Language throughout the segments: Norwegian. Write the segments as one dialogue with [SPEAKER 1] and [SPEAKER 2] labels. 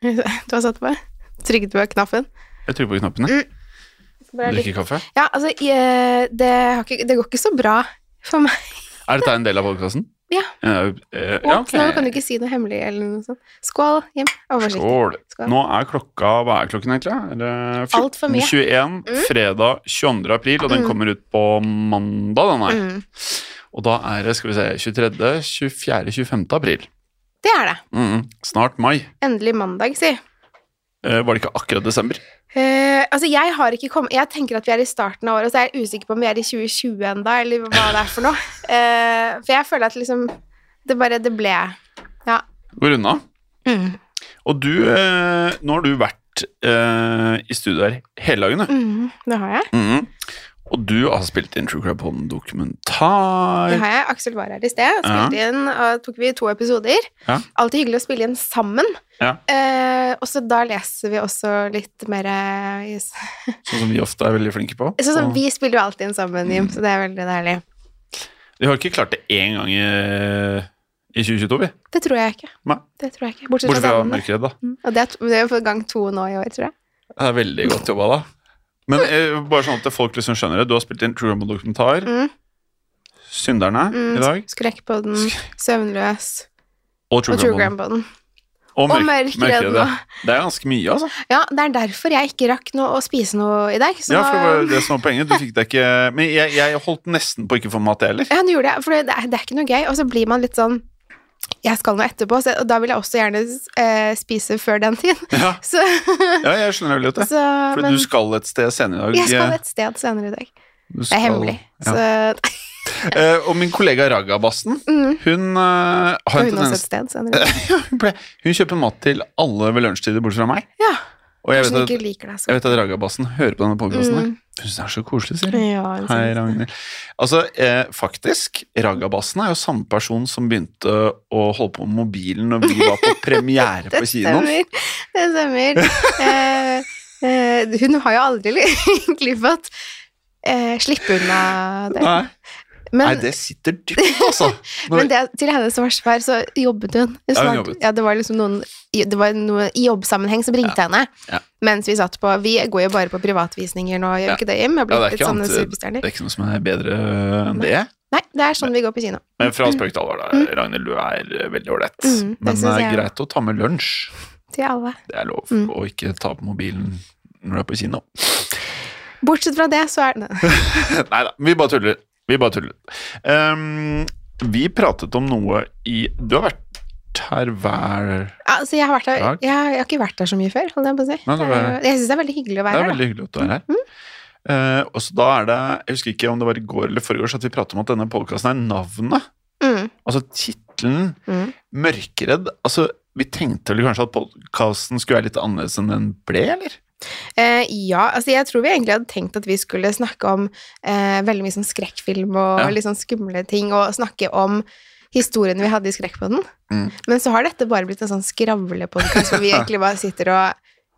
[SPEAKER 1] Du har satt på? Trykket på knappen?
[SPEAKER 2] Jeg trykker på knappene. Drikker kaffe.
[SPEAKER 1] Ja, altså, jeg, det, har ikke, det går ikke så bra for meg.
[SPEAKER 2] Er dette en del av podkasten?
[SPEAKER 1] Ja.
[SPEAKER 2] Eh, eh, ja, ok.
[SPEAKER 1] Så nå kan du ikke si noe hemmelig eller noe sånt. Skål, Jim. Vær forsiktig.
[SPEAKER 2] Skål.
[SPEAKER 1] Skål.
[SPEAKER 2] Nå er klokka Hva er klokken egentlig? Er det
[SPEAKER 1] Alt for mye.
[SPEAKER 2] 14.21,
[SPEAKER 1] Mm.
[SPEAKER 2] fredag 22. april, og den
[SPEAKER 1] Mm.
[SPEAKER 2] kommer ut på mandag, den her.
[SPEAKER 1] Mm.
[SPEAKER 2] Og da er det, skal vi se, 23., 24., 25. april.
[SPEAKER 1] Det er det.
[SPEAKER 2] Mm. Snart mai.
[SPEAKER 1] Endelig mandag, si.
[SPEAKER 2] Eh, var det ikke akkurat desember?
[SPEAKER 1] Eh, altså, jeg har ikke kommet Jeg tenker at vi er i starten av året, så jeg er usikker på om vi er i 2020 enda, eller hva det er for noe. Eh, for jeg føler at liksom Det bare Det ble Ja.
[SPEAKER 2] Går unna.
[SPEAKER 1] Mm.
[SPEAKER 2] Og du, eh, nå har du vært eh, i studio her hele dagen, du.
[SPEAKER 1] Mm, det har jeg.
[SPEAKER 2] Mhm. Og du har spilt inn True Crime på en dokumentar.
[SPEAKER 1] Det har jeg. Aksel var her i sted, spilte inn, og tok vi to episoder.
[SPEAKER 2] Ja.
[SPEAKER 1] Alltid hyggelig å spille inn sammen.
[SPEAKER 2] Ja.
[SPEAKER 1] Eh, og så da leser vi også litt mer eh, i-
[SPEAKER 2] Sånn som vi ofte er veldig flinke på.
[SPEAKER 1] Sånn som
[SPEAKER 2] Og-
[SPEAKER 1] vi spiller jo alltid inn sammen,
[SPEAKER 2] Mm.
[SPEAKER 1] Jim, så det er veldig deilig.
[SPEAKER 2] Vi har ikke klart det én gang i, i 2022, vi.
[SPEAKER 1] Det tror jeg ikke.
[SPEAKER 2] Nei.
[SPEAKER 1] Det tror jeg ikke. Bortsett fra
[SPEAKER 2] Bortsett fra
[SPEAKER 1] sendene.
[SPEAKER 2] Mørkeredd, da.
[SPEAKER 1] Mm. Og det er, to- det er for gang to nå i år, tror jeg.
[SPEAKER 2] Det er veldig godt jobba, da. Men eh, bare sånn at folk liksom skjønner det. Du har spilt inn True Crime på dokumentar.
[SPEAKER 1] Mm.
[SPEAKER 2] Synderne
[SPEAKER 1] Mm.
[SPEAKER 2] i dag.
[SPEAKER 1] Skrekk på den, søvnløs
[SPEAKER 2] Og True
[SPEAKER 1] og True
[SPEAKER 2] Crime.
[SPEAKER 1] Crime på den.
[SPEAKER 2] Og,
[SPEAKER 1] Og
[SPEAKER 2] Mørk-
[SPEAKER 1] Mørkeredd
[SPEAKER 2] ja.
[SPEAKER 1] nå.
[SPEAKER 2] Det er ganske mye, altså.
[SPEAKER 1] Ja, det er derfor jeg ikke rakk noe å spise noe i dag. Så
[SPEAKER 2] ja, for det var
[SPEAKER 1] nå
[SPEAKER 2] jo det som var poenget. Du fikk det ikke Men jeg, jeg holdt nesten på å ikke få mat, jeg heller.
[SPEAKER 1] Ja, det gjorde jeg, for det er, det er ikke noe gøy. Og så blir man litt sånn Jeg skal noe etterpå, så, og da vil jeg også gjerne eh, spise før den tid.
[SPEAKER 2] Ja,
[SPEAKER 1] Så,
[SPEAKER 2] ja jeg skjønner veldig godt det.
[SPEAKER 1] så
[SPEAKER 2] For
[SPEAKER 1] men
[SPEAKER 2] du skal et sted senere i dag. Eh,
[SPEAKER 1] jeg skal et sted senere i dag.
[SPEAKER 2] Du
[SPEAKER 1] Det
[SPEAKER 2] skal-
[SPEAKER 1] er hemmelig.
[SPEAKER 2] ja.
[SPEAKER 1] Så
[SPEAKER 2] Eh, og min kollega Ragabasten,
[SPEAKER 1] mm,
[SPEAKER 2] hun eh, har en
[SPEAKER 1] hun også et
[SPEAKER 2] tendens
[SPEAKER 1] sted senere i dag.
[SPEAKER 2] hun, ble- hun kjøper mat til alle ved lunsjtider, bortsett fra meg.
[SPEAKER 1] Ja,
[SPEAKER 2] Og jeg
[SPEAKER 1] Kanskje hun
[SPEAKER 2] vet,
[SPEAKER 1] ikke
[SPEAKER 2] at,
[SPEAKER 1] liker deg så
[SPEAKER 2] jeg vet at Ragabassen hører på denne podkasten.
[SPEAKER 1] Mm.
[SPEAKER 2] Hun syns det er så koselig, sier hun.
[SPEAKER 1] Ja, hun
[SPEAKER 2] Hei,
[SPEAKER 1] synes det.
[SPEAKER 2] Ragnhild. Altså, eh, faktisk, Ragabassen er jo samme person som begynte å holde på med mobilen når vi var på premiere på kinoen.
[SPEAKER 1] Stemmer. Det stemmer. Eh, eh, hun har jo aldri li- egentlig fått eh, slippe unna det.
[SPEAKER 2] Nei, nei,
[SPEAKER 1] Men,
[SPEAKER 2] det sitter dypt, altså. Når,
[SPEAKER 1] men det, til hennes forsvar så jobbet hun.
[SPEAKER 2] Ja, hun
[SPEAKER 1] Snart,
[SPEAKER 2] jobbet.
[SPEAKER 1] ja, det var liksom noen i- det var noe i jobbsammenheng som ringte henne.
[SPEAKER 2] Ja.
[SPEAKER 1] Mens vi satt på Vi går jo bare på privatvisninger nå, gjør vi
[SPEAKER 2] Ja.
[SPEAKER 1] ikke det, Jim? Jeg har blitt
[SPEAKER 2] Ja, det er
[SPEAKER 1] litt
[SPEAKER 2] ikke
[SPEAKER 1] sånne
[SPEAKER 2] annet-
[SPEAKER 1] superstjerner.
[SPEAKER 2] det er ikke noe som er bedre enn det.
[SPEAKER 1] Nei, det er sånn vi går på kino.
[SPEAKER 2] Men fra spøk til alvor, da. Ragnhild, du er veldig ålreit.
[SPEAKER 1] Mm, det
[SPEAKER 2] Men det
[SPEAKER 1] synes
[SPEAKER 2] er
[SPEAKER 1] jeg.
[SPEAKER 2] greit å ta med lunsj.
[SPEAKER 1] Til alle.
[SPEAKER 2] Det er lov.
[SPEAKER 1] Mm.
[SPEAKER 2] Og ikke ta på mobilen når du er på kino.
[SPEAKER 1] Bortsett fra det, så er det
[SPEAKER 2] Nei da, vi bare tuller. Vi bare tuller. Ehm, vi pratet om noe i Du har vært her hver
[SPEAKER 1] Altså, jeg har, vært der,
[SPEAKER 2] Takk.
[SPEAKER 1] jeg, har- jeg har ikke vært der så mye før, holdt jeg på å si.
[SPEAKER 2] Nei, det
[SPEAKER 1] Det er
[SPEAKER 2] var-
[SPEAKER 1] jo- Jeg syns det Mm. er veldig hyggelig å
[SPEAKER 2] Det
[SPEAKER 1] være her.
[SPEAKER 2] er
[SPEAKER 1] da.
[SPEAKER 2] veldig hyggelig at du er her. Eh, og så da er det Jeg husker ikke om det var i går eller forgårs at vi pratet om at denne podkasten er navnet.
[SPEAKER 1] Mm,
[SPEAKER 2] Altså tittelen
[SPEAKER 1] mm.
[SPEAKER 2] 'Mørkeredd'. Altså, vi tenkte vel kanskje at podkasten skulle være litt annerledes enn den ble, eller?
[SPEAKER 1] Eh, ja, altså jeg tror vi egentlig hadde tenkt at vi skulle snakke om eh, veldig mye sånn skrekkfilm og
[SPEAKER 2] Ja.
[SPEAKER 1] litt sånn skumle ting, og snakke om historiene vi hadde i Skrekkpodden.
[SPEAKER 2] Mm.
[SPEAKER 1] Men så har dette bare blitt en sånn skravlepodkast hvor vi egentlig bare sitter og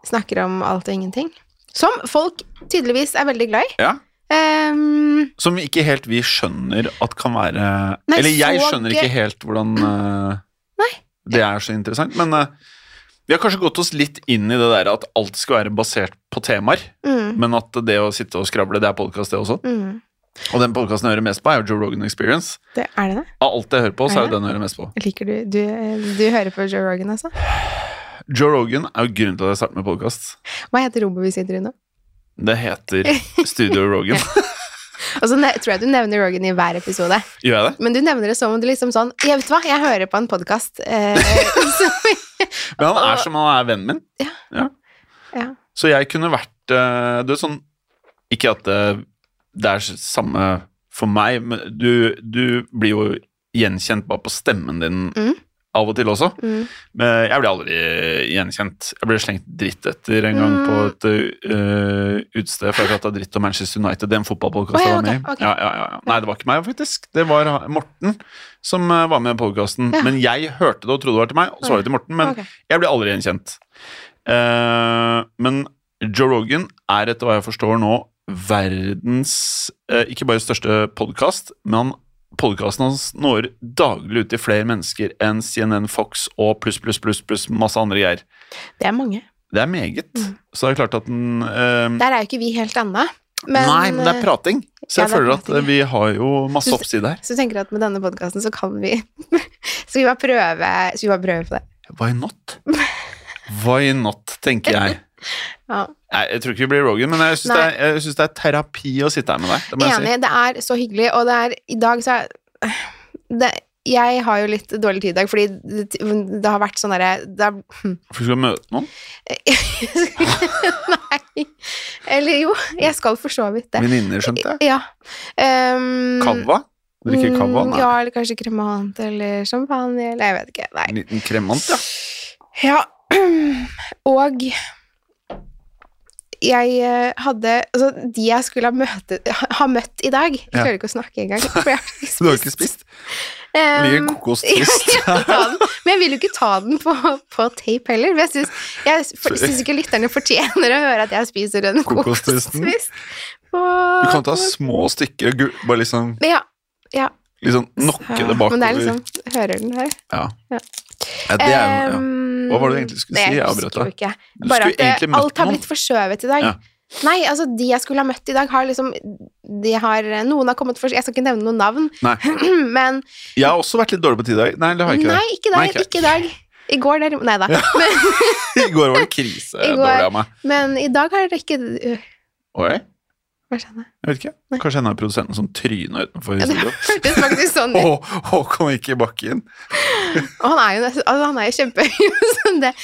[SPEAKER 1] snakker om alt og ingenting. Som folk tydeligvis er veldig glad i.
[SPEAKER 2] Ja.
[SPEAKER 1] Ehm,
[SPEAKER 2] Som ikke helt vi skjønner at kan være
[SPEAKER 1] Nei,
[SPEAKER 2] Eller jeg
[SPEAKER 1] så
[SPEAKER 2] skjønner
[SPEAKER 1] gøy.
[SPEAKER 2] ikke helt hvordan eh, det er så interessant. Men eh, vi har kanskje gått oss litt inn i det der at alt skal være basert på temaer.
[SPEAKER 1] mm,
[SPEAKER 2] Men at det å sitte og skravle, det er podkast, det også.
[SPEAKER 1] mm.
[SPEAKER 2] Og den podkasten jeg hører mest på, er jo Joe Rogan Experience.
[SPEAKER 1] Det, er det det?
[SPEAKER 2] Av alt jeg hører på, så er
[SPEAKER 1] Er det?
[SPEAKER 2] det den jeg hører mest på.
[SPEAKER 1] Liker du Du, du hører på Joe Rogan, altså?
[SPEAKER 2] Joe Rogan er jo grunnen til at jeg startet med podkast.
[SPEAKER 1] Hva heter rommet vi sitter i nå?
[SPEAKER 2] Det heter Studio Rogan.
[SPEAKER 1] Og så Altså, ne- tror jeg du nevner Rogan i hver episode.
[SPEAKER 2] Gjør jeg det?
[SPEAKER 1] Men du nevner det som om du liksom sånn Jeg vet hva, jeg hører på en podkast. Eh, som-
[SPEAKER 2] Men han er som han er vennen min.
[SPEAKER 1] Ja. ja.
[SPEAKER 2] Så jeg kunne vært eh, Du er sånn Ikke at det, det er samme for meg, men du, du blir jo gjenkjent bare på stemmen din
[SPEAKER 1] Mm.
[SPEAKER 2] av og til også.
[SPEAKER 1] Mm.
[SPEAKER 2] Men jeg blir aldri gjenkjent. Jeg ble slengt dritt etter en gang
[SPEAKER 1] Mm.
[SPEAKER 2] på et eh, utested for jeg prata dritt om Manchester United. Den fotballpodkasten
[SPEAKER 1] Å,
[SPEAKER 2] jeg
[SPEAKER 1] ja,
[SPEAKER 2] var med i.
[SPEAKER 1] ok, ok.
[SPEAKER 2] Ja, ja, ja, ja. Nei, det var ikke meg, faktisk. Det var ha- Morten som eh, var med i podkasten.
[SPEAKER 1] Ja.
[SPEAKER 2] Men jeg hørte det og trodde det var til meg, og så var det til Morten. Men
[SPEAKER 1] Ok.
[SPEAKER 2] jeg blir aldri gjenkjent. Eh, men Joe Rogan er etter hva jeg forstår nå verdens eh, ikke bare største podkast, men han podkasten hans når daglig ut til flere mennesker enn CNN, Fox og pluss, pluss, pluss, pluss masse andre greier.
[SPEAKER 1] Det er mange.
[SPEAKER 2] Det er meget.
[SPEAKER 1] Mm.
[SPEAKER 2] Så det er klart at den eh,
[SPEAKER 1] Der er jo ikke vi helt ennå. Men, eh,
[SPEAKER 2] Nei, men det er prating.
[SPEAKER 1] ja,
[SPEAKER 2] Så jeg
[SPEAKER 1] det er
[SPEAKER 2] føler at
[SPEAKER 1] prating, ja.
[SPEAKER 2] vi har jo masse
[SPEAKER 1] Synes-
[SPEAKER 2] oppside her.
[SPEAKER 1] Så du tenker at med denne podkasten så kan vi Skal vi bare prøve Skal vi bare prøve på det?
[SPEAKER 2] Why not? Why not, tenker jeg.
[SPEAKER 1] Ja.
[SPEAKER 2] Nei, jeg tror ikke vi blir Rogan, men jeg syns
[SPEAKER 1] Nei.
[SPEAKER 2] det, er- jeg synes det er terapi å sitte her med deg. Det må jeg si.
[SPEAKER 1] Enig. Det er så hyggelig, og det er I dag så er det, Jeg har jo litt dårlig tid i dag, fordi det, det har vært sånn derre det er- hm.
[SPEAKER 2] For du skal møte noen.
[SPEAKER 1] Nei. Eller jo, jeg skal for så vidt det.
[SPEAKER 2] Venninner, skjønte jeg.
[SPEAKER 1] Ja. Um,
[SPEAKER 2] Kava? Drikke kava? Nei.
[SPEAKER 1] Mm, Ja, eller kanskje kremant eller champagne, eller jeg vet ikke. Nei.
[SPEAKER 2] En liten kremant, ja.
[SPEAKER 1] Ja, og jeg eh, hadde Altså, de jeg skulle ha, møte, ha, ha møtt i dag Jeg
[SPEAKER 2] Ja.
[SPEAKER 1] klarer ikke å snakke engang, for jeg har ikke
[SPEAKER 2] Du har ikke spist?
[SPEAKER 1] Um,
[SPEAKER 2] Ligger kokostrist.
[SPEAKER 1] ja, jeg tar den. Men jeg vil jo ikke ta den på, på tape heller. for Jeg syns, jeg for- syns ikke lytterne fortjener å høre at jeg spiser en
[SPEAKER 2] Kokostvisten.
[SPEAKER 1] kokostvist.
[SPEAKER 2] Du kan ta små stykker og gu- bare liksom,
[SPEAKER 1] Ja. ja.
[SPEAKER 2] liksom nokke
[SPEAKER 1] Men
[SPEAKER 2] det
[SPEAKER 1] det er
[SPEAKER 2] bakover.
[SPEAKER 1] liksom Hører den her?
[SPEAKER 2] Ja.
[SPEAKER 1] Ja.
[SPEAKER 2] Ja, det er jo ja.
[SPEAKER 1] Ehm,
[SPEAKER 2] Hva var det du egentlig skulle
[SPEAKER 1] nei,
[SPEAKER 2] si? Jeg
[SPEAKER 1] husker
[SPEAKER 2] avbrøt deg.
[SPEAKER 1] jo ikke.
[SPEAKER 2] Du
[SPEAKER 1] Bare
[SPEAKER 2] skulle
[SPEAKER 1] at eh,
[SPEAKER 2] egentlig møtt
[SPEAKER 1] alt har
[SPEAKER 2] noen.
[SPEAKER 1] blitt forskjøvet i dag.
[SPEAKER 2] Ja.
[SPEAKER 1] Nei, altså de jeg skulle ha møtt i dag, har liksom de har, eh, Noen har kommet for Jeg skal ikke nevne noen navn,
[SPEAKER 2] Nei.
[SPEAKER 1] men
[SPEAKER 2] Jeg har også vært litt dårlig på tid i dag. Nei, det har jeg ikke.
[SPEAKER 1] Nei,
[SPEAKER 2] det.
[SPEAKER 1] ikke i
[SPEAKER 2] Nei,
[SPEAKER 1] dag.
[SPEAKER 2] ikke-
[SPEAKER 1] Ikke i dag. I går, derimot. Nei da.
[SPEAKER 2] I går var det krise
[SPEAKER 1] I går-
[SPEAKER 2] dårlig av meg.
[SPEAKER 1] Men i dag har dere ikke øh,
[SPEAKER 2] Oi,
[SPEAKER 1] Hva skjedde?
[SPEAKER 2] jeg vet ikke. Kanskje en av produsentene som tryna utenfor
[SPEAKER 1] Ja, det
[SPEAKER 2] studio.
[SPEAKER 1] hørtes faktisk sånn ut.
[SPEAKER 2] Hå- Håkon gikk i bakken.
[SPEAKER 1] Og han er jo nesten altså, Han er jo kjempehøy, sånn det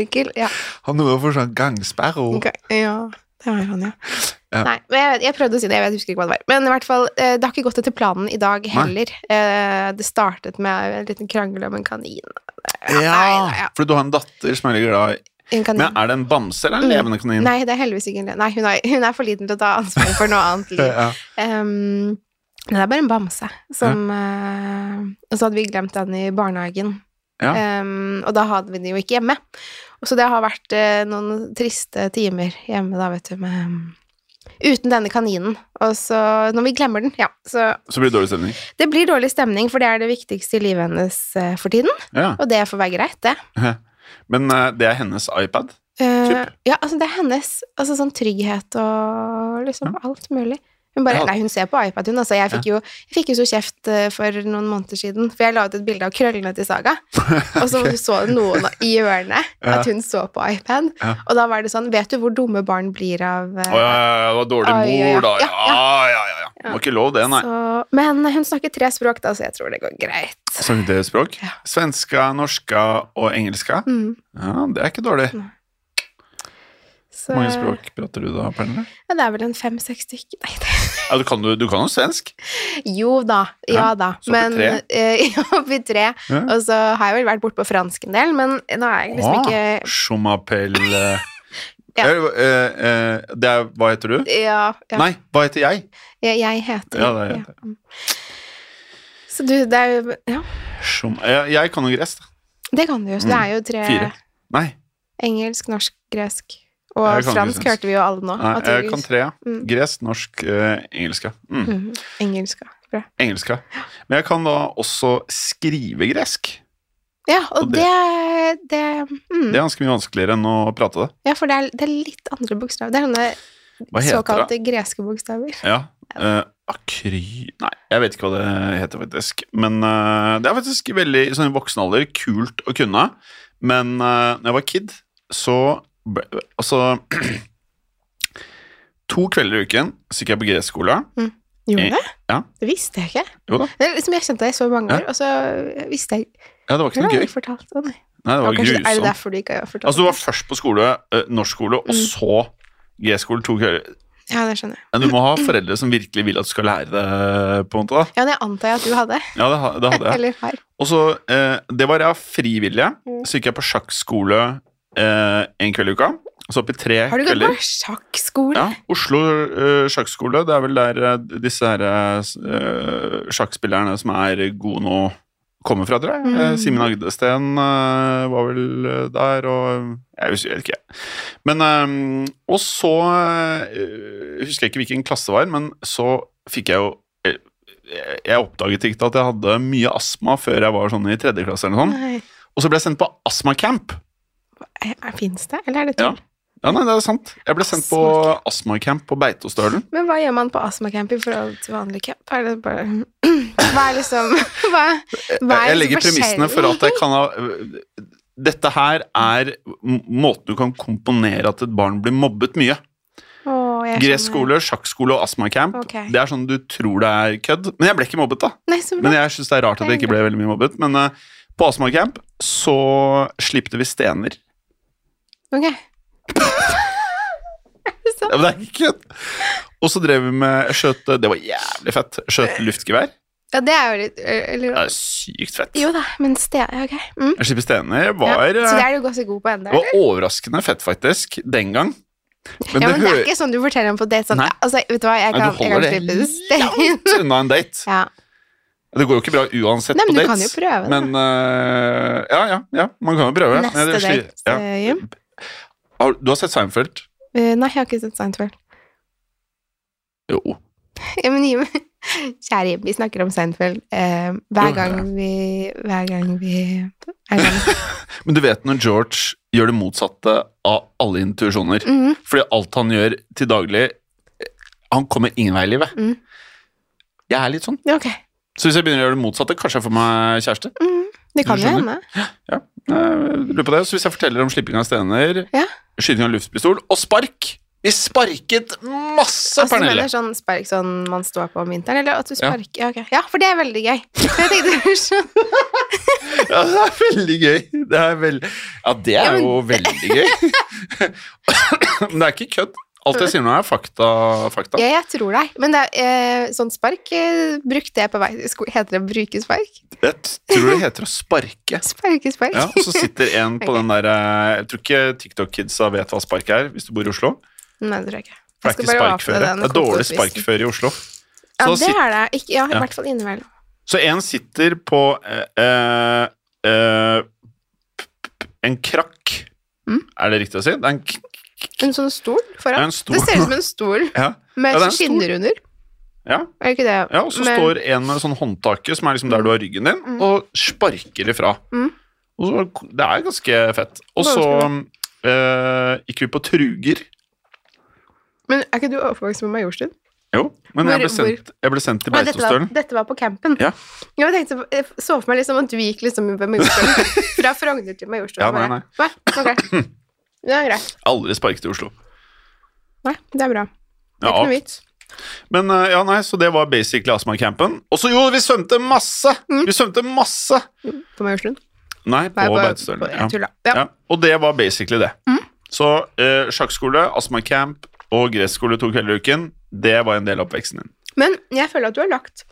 [SPEAKER 1] Onkel. Ja.
[SPEAKER 2] Han var for sånn gangsperre. og-
[SPEAKER 1] Ok, ja. Det var jo han, ja.
[SPEAKER 2] Ja.
[SPEAKER 1] Nei, men jeg, vet- jeg prøvde å si det, jeg vet- husker ikke hva det var. Men i hvert fall, eh, det har ikke gått etter planen i dag heller. Eh, Det startet med en liten krangel om en kanin. nei, nei,
[SPEAKER 2] Ja,
[SPEAKER 1] ja.
[SPEAKER 2] fordi du har en datter som er veldig glad i
[SPEAKER 1] En kanin.
[SPEAKER 2] Men er det en bamse eller en
[SPEAKER 1] Mm.
[SPEAKER 2] levende kanin?
[SPEAKER 1] Nei, det er heldigvis ikke en le- Nei, hun er, hun er for liten til å ta ansvaret for noe annet liv.
[SPEAKER 2] Ja.
[SPEAKER 1] Um, det er bare en bamse som eh, Og så hadde vi glemt den i barnehagen.
[SPEAKER 2] Ja.
[SPEAKER 1] Um, og da hadde vi den jo ikke hjemme. Og så det har vært eh, noen triste timer hjemme, da, vet du, med Uten denne kaninen. Og så Når vi glemmer den, ja. Så
[SPEAKER 2] Så blir det dårlig stemning.
[SPEAKER 1] det blir dårlig stemning, for det er det viktigste i livet hennes eh, for tiden.
[SPEAKER 2] Ja.
[SPEAKER 1] Og det får være greit, det.
[SPEAKER 2] Men eh, det er hennes iPad.
[SPEAKER 1] Eh,
[SPEAKER 2] Typ.
[SPEAKER 1] ja, altså det er hennes altså sånn trygghet og liksom alt mulig. Hun bare,
[SPEAKER 2] Ja.
[SPEAKER 1] nei, hun ser på iPad, hun. Altså, jeg fikk, jo, jeg fikk jo så kjeft eh, for noen måneder siden, for jeg la ut et bilde av krøllene til Saga, og så så noen i hjørnet
[SPEAKER 2] Ja.
[SPEAKER 1] at hun så på iPad,
[SPEAKER 2] Ja.
[SPEAKER 1] og da var det sånn, vet du hvor dumme barn blir av eh,
[SPEAKER 2] Å ja, ja, ja, det var dårlig
[SPEAKER 1] Ai, ja, ja.
[SPEAKER 2] mor, da.
[SPEAKER 1] Ja,
[SPEAKER 2] Ja, ja, ja. ja. Det var ikke lov, det, nei.
[SPEAKER 1] så, Men hun snakker tre språk, da, så jeg tror det går greit.
[SPEAKER 2] Sang dere språk?
[SPEAKER 1] Ja.
[SPEAKER 2] Svenska, norska og engelska?
[SPEAKER 1] Mm,
[SPEAKER 2] Ja, det er ikke dårlig.
[SPEAKER 1] Nei. så,
[SPEAKER 2] Hvor mange språk prater du da, Pernille?
[SPEAKER 1] Ja, det er vel en fem-seks stykker. Nei, det
[SPEAKER 2] Ja, du kan jo du kan jo svensk.
[SPEAKER 1] Jo da, ja
[SPEAKER 2] Ja,
[SPEAKER 1] da.
[SPEAKER 2] så på
[SPEAKER 1] Men
[SPEAKER 2] tre?
[SPEAKER 1] eh, ja, oppi tre.
[SPEAKER 2] Ja.
[SPEAKER 1] Og så har jeg vel vært bortpå fransk en del, men nå er jeg
[SPEAKER 2] Ah.
[SPEAKER 1] liksom ikke
[SPEAKER 2] Schumapel eh,
[SPEAKER 1] Ja.
[SPEAKER 2] eh, eh, eh, Det er Hva heter du?
[SPEAKER 1] Ja, ja.
[SPEAKER 2] Nei, hva heter jeg?
[SPEAKER 1] Jeg, jeg heter
[SPEAKER 2] Ja, det er-
[SPEAKER 1] Mm. Så du, det er jo Ja,
[SPEAKER 2] Schum... Jeg, jeg kan jo gresk. da.
[SPEAKER 1] det kan du jo. Så det er jo tre
[SPEAKER 2] Mm. Fire. Nei,
[SPEAKER 1] engelsk, norsk, gresk og
[SPEAKER 2] Jeg kan ikke
[SPEAKER 1] fransk,
[SPEAKER 2] fransk.
[SPEAKER 1] hørte vi jo alle nå.
[SPEAKER 2] nei
[SPEAKER 1] Ah, at det
[SPEAKER 2] jeg
[SPEAKER 1] er-
[SPEAKER 2] kan tre. ja.
[SPEAKER 1] Mm.
[SPEAKER 2] Gresk, norsk, eh, engelska. Mm.
[SPEAKER 1] Mhm, engelsk, ja. Bra.
[SPEAKER 2] Engelska. Men jeg kan da også skrive gresk.
[SPEAKER 1] Ja, og
[SPEAKER 2] Og
[SPEAKER 1] det det, mm.
[SPEAKER 2] Det er ganske mye vanskeligere enn å prate det.
[SPEAKER 1] Ja, for det er, det er litt andre bokstaver. Det er sånne
[SPEAKER 2] Hva heter det?
[SPEAKER 1] såkalte greske bokstaver.
[SPEAKER 2] Ja. eh, akry... Nei, jeg vet ikke hva det heter faktisk. Men eh, det er faktisk veldig i sånn i voksen alder kult å kunne. Men eh, når jeg var kid, så ble, Altså To kvelder i uken så gikk jeg på gresskole.
[SPEAKER 1] Gjorde
[SPEAKER 2] Eh,
[SPEAKER 1] det?
[SPEAKER 2] ja.
[SPEAKER 1] Det visste jeg ikke.
[SPEAKER 2] Jo da.
[SPEAKER 1] Det er liksom jeg kjente deg i så mange år, og
[SPEAKER 2] Ja.
[SPEAKER 1] så visste jeg
[SPEAKER 2] Ja, det var ikke
[SPEAKER 1] Hvordan
[SPEAKER 2] noe
[SPEAKER 1] har
[SPEAKER 2] gøy.
[SPEAKER 1] du fortalt det? Nei.
[SPEAKER 2] Nei, det
[SPEAKER 1] Ja,
[SPEAKER 2] var
[SPEAKER 1] kanskje det er det
[SPEAKER 2] grusomt.
[SPEAKER 1] derfor du ikke har fortalt
[SPEAKER 2] Altså, du var først på skole, eh, norsk skole, og
[SPEAKER 1] Mm.
[SPEAKER 2] så gresskole to kvelder.
[SPEAKER 1] det? Ja, det skjønner jeg.
[SPEAKER 2] Men du må ha foreldre som virkelig vil at du skal lære det, på en måte. da.
[SPEAKER 1] Ja, det antar jeg at du hadde.
[SPEAKER 2] Ja, det, ha- det hadde jeg.
[SPEAKER 1] Eller har.
[SPEAKER 2] Og så, eh, Det var jeg frivillige.
[SPEAKER 1] Mm.
[SPEAKER 2] Så gikk jeg på sjakkskole eh, en kveld i uka. Så opp i tre
[SPEAKER 1] Har du gått på
[SPEAKER 2] kvelder.
[SPEAKER 1] sjakkskole?
[SPEAKER 2] Ja, Oslo eh, sjakkskole. Det er vel der eh, disse her, eh, sjakkspillerne som er gode nå, kommer fra, tror jeg. Eh,
[SPEAKER 1] Mm.
[SPEAKER 2] Simen Agdesten eh, var vel eh, der, og Jeg husker jeg vet ikke. Men eh, Og så eh, husker jeg ikke hvilken klasse det var, men så fikk jeg jo eh, jeg- jeg oppdaget ikke at jeg hadde mye astma før jeg var sånn i tredje klasse. eller noe sånt.
[SPEAKER 1] Nei.
[SPEAKER 2] Og så ble jeg sendt på astmacamp.
[SPEAKER 1] Fins det, eller er det
[SPEAKER 2] Ja.
[SPEAKER 1] tull?
[SPEAKER 2] Ja, nei, det er sant. Jeg ble sendt på astmacamp på Beitostølen.
[SPEAKER 1] Men hva gjør man på astmacamp i forhold til vanlig camp? Er det bare Hva er liksom Hva, hva er
[SPEAKER 2] Jeg legger
[SPEAKER 1] liksom
[SPEAKER 2] premissene for at jeg kan ha Dette her er m- måten du kan komponere at et barn blir mobbet mye.
[SPEAKER 1] Å, jeg skjønner.
[SPEAKER 2] Gresskole, sjakkskole og astmacamp.
[SPEAKER 1] Ok.
[SPEAKER 2] Det er sånn du tror det er kødd. Men jeg ble ikke mobbet, da.
[SPEAKER 1] Nei, så bra.
[SPEAKER 2] Men jeg syns det er rart at jeg ikke ble veldig mye mobbet. Men eh, på astmacamp så slipte vi stener.
[SPEAKER 1] Ok.
[SPEAKER 2] Ja, men det er ikke kødd! Og så drev vi med jeg skjøt Det var jævlig fett. Jeg Skjøt luftgevær.
[SPEAKER 1] Ja, det er jo litt
[SPEAKER 2] Det
[SPEAKER 1] eller,
[SPEAKER 2] er sykt fett.
[SPEAKER 1] Jo da, men ste... ja, Ok. Mm.
[SPEAKER 2] Jeg slipper stener
[SPEAKER 1] Ja.
[SPEAKER 2] var,
[SPEAKER 1] Så det
[SPEAKER 2] eh,
[SPEAKER 1] er du ganske god på ennå?
[SPEAKER 2] det var overraskende fett, faktisk, den gang. Men,
[SPEAKER 1] Ja,
[SPEAKER 2] det
[SPEAKER 1] men det er
[SPEAKER 2] hø-
[SPEAKER 1] ikke sånn du forteller om på date. Sånn,
[SPEAKER 2] Nei.
[SPEAKER 1] altså, vet du hva, jeg kan,
[SPEAKER 2] Nei, du
[SPEAKER 1] jeg kan
[SPEAKER 2] holder
[SPEAKER 1] slippe
[SPEAKER 2] det
[SPEAKER 1] stein.
[SPEAKER 2] unna en date.
[SPEAKER 1] Ja.
[SPEAKER 2] Det går jo ikke bra uansett
[SPEAKER 1] Nei,
[SPEAKER 2] på
[SPEAKER 1] men du kan jo
[SPEAKER 2] dates.
[SPEAKER 1] prøve det.
[SPEAKER 2] Men øh, ja, ja, ja, man kan jo prøve.
[SPEAKER 1] Neste
[SPEAKER 2] Nei, det er sli-
[SPEAKER 1] date,
[SPEAKER 2] ja.
[SPEAKER 1] eh, Jim.
[SPEAKER 2] Har- Du har sett Seinfeld?
[SPEAKER 1] Eh, nei, jeg har ikke sett Seinfeld.
[SPEAKER 2] Jo.
[SPEAKER 1] Ja, men Jim, kjære Jim, vi snakker om Seinfeld eh, hver
[SPEAKER 2] Jo,
[SPEAKER 1] gang
[SPEAKER 2] ja.
[SPEAKER 1] vi Hver gang vi er sammen.
[SPEAKER 2] Men du vet når George gjør det motsatte av alle intuisjoner.
[SPEAKER 1] Mhm.
[SPEAKER 2] Fordi alt han gjør til daglig eh, Han kommer ingen vei i livet.
[SPEAKER 1] Mm.
[SPEAKER 2] Jeg er litt sånn.
[SPEAKER 1] Ja, Ok.
[SPEAKER 2] Så hvis jeg begynner å gjøre det motsatte, kanskje jeg får meg kjæreste.
[SPEAKER 1] Mhm. Det kan
[SPEAKER 2] Du
[SPEAKER 1] jo hende.
[SPEAKER 2] skjønner. Ja, jeg lurer på det. Så hvis jeg forteller om slipping av stener,
[SPEAKER 1] Ja.
[SPEAKER 2] skyting av luftpistol og spark Vi sparket masse,
[SPEAKER 1] Altså, du
[SPEAKER 2] Pernille!
[SPEAKER 1] mener sånn spark sånn man står på om vinteren, eller at du
[SPEAKER 2] Ja.
[SPEAKER 1] sparker Ja, ok. ja for det er veldig gøy. Jeg tenkte, sånn,
[SPEAKER 2] Ja, det er veldig gøy. Det er vel... Ja, det er
[SPEAKER 1] Ja, men-
[SPEAKER 2] jo veldig gøy. Men det er ikke kødd. Alt jeg sier nå, er fakta. fakta.
[SPEAKER 1] ja, jeg tror deg. Men det er, eh, sånn spark eh, brukte jeg på vei til skolen. Heter det bruke spark?
[SPEAKER 2] Jeg tror det heter å sparke.
[SPEAKER 1] Sparke spark.
[SPEAKER 2] Ja, og så sitter en på
[SPEAKER 1] Ok.
[SPEAKER 2] den der eh, Jeg tror ikke TikTok-kidsa vet hva spark er, hvis du bor i Oslo.
[SPEAKER 1] Nei, det tror jeg ikke.
[SPEAKER 2] For det er ikke sparkføre. Det er dårlig sparkføre i Oslo.
[SPEAKER 1] Ja,
[SPEAKER 2] Så,
[SPEAKER 1] det
[SPEAKER 2] sit,
[SPEAKER 1] er det. Ikke, ja, i
[SPEAKER 2] Ja.
[SPEAKER 1] hvert fall innimellom.
[SPEAKER 2] så en sitter på eh, eh, eh, en krakk.
[SPEAKER 1] Mm.
[SPEAKER 2] Er det riktig å si? Det er en, k-
[SPEAKER 1] En sånn stol
[SPEAKER 2] det er
[SPEAKER 1] foran.
[SPEAKER 2] en stor
[SPEAKER 1] Det ser ut som en stol
[SPEAKER 2] Ja. Ja,
[SPEAKER 1] med
[SPEAKER 2] det er en stol.
[SPEAKER 1] skinner under.
[SPEAKER 2] ja.
[SPEAKER 1] Er det ikke det?
[SPEAKER 2] Ja, og så
[SPEAKER 1] Men-
[SPEAKER 2] står en med sånn håndtake, som er liksom der du har ryggen din,
[SPEAKER 1] Mm.
[SPEAKER 2] og sparker ifra.
[SPEAKER 1] Mm.
[SPEAKER 2] Og så, det er ganske fett. Og så eh, gikk vi på truger.
[SPEAKER 1] Men er ikke du overvokst med Majorstuen?
[SPEAKER 2] Jo, men
[SPEAKER 1] Hvor-
[SPEAKER 2] jeg, ble sendt, jeg ble sendt til
[SPEAKER 1] Å, Dette, var-
[SPEAKER 2] Beitostølen.
[SPEAKER 1] dette var på campen.
[SPEAKER 2] Ja.
[SPEAKER 1] Jeg tenkte, jeg så for meg liksom at du gikk liksom ved Majorstuen. Fra Frogner til Majorstuen.
[SPEAKER 2] Ja, nei,
[SPEAKER 1] bare. Hva? Ok. Det er greit.
[SPEAKER 2] Aldri sparket i Oslo.
[SPEAKER 1] Nei, det er bra. Det er
[SPEAKER 2] Ja,
[SPEAKER 1] ikke noe vits.
[SPEAKER 2] men eh, ja, nei, så det var basically astmacampen. Og så jo, vi svømte masse!
[SPEAKER 1] Mm.
[SPEAKER 2] Vi svømte masse!
[SPEAKER 1] På Majorstuen.
[SPEAKER 2] Nei, på
[SPEAKER 1] Nei, på-
[SPEAKER 2] Beitostølen.
[SPEAKER 1] på-
[SPEAKER 2] ja.
[SPEAKER 1] Jeg Mm. tulla. Ja.
[SPEAKER 2] Ja, og det var basically det. Så eh, sjakkskole, astmacamp og gresskole to kvelder i uken, det var en del av oppveksten din.
[SPEAKER 1] Men jeg føler at du har lagt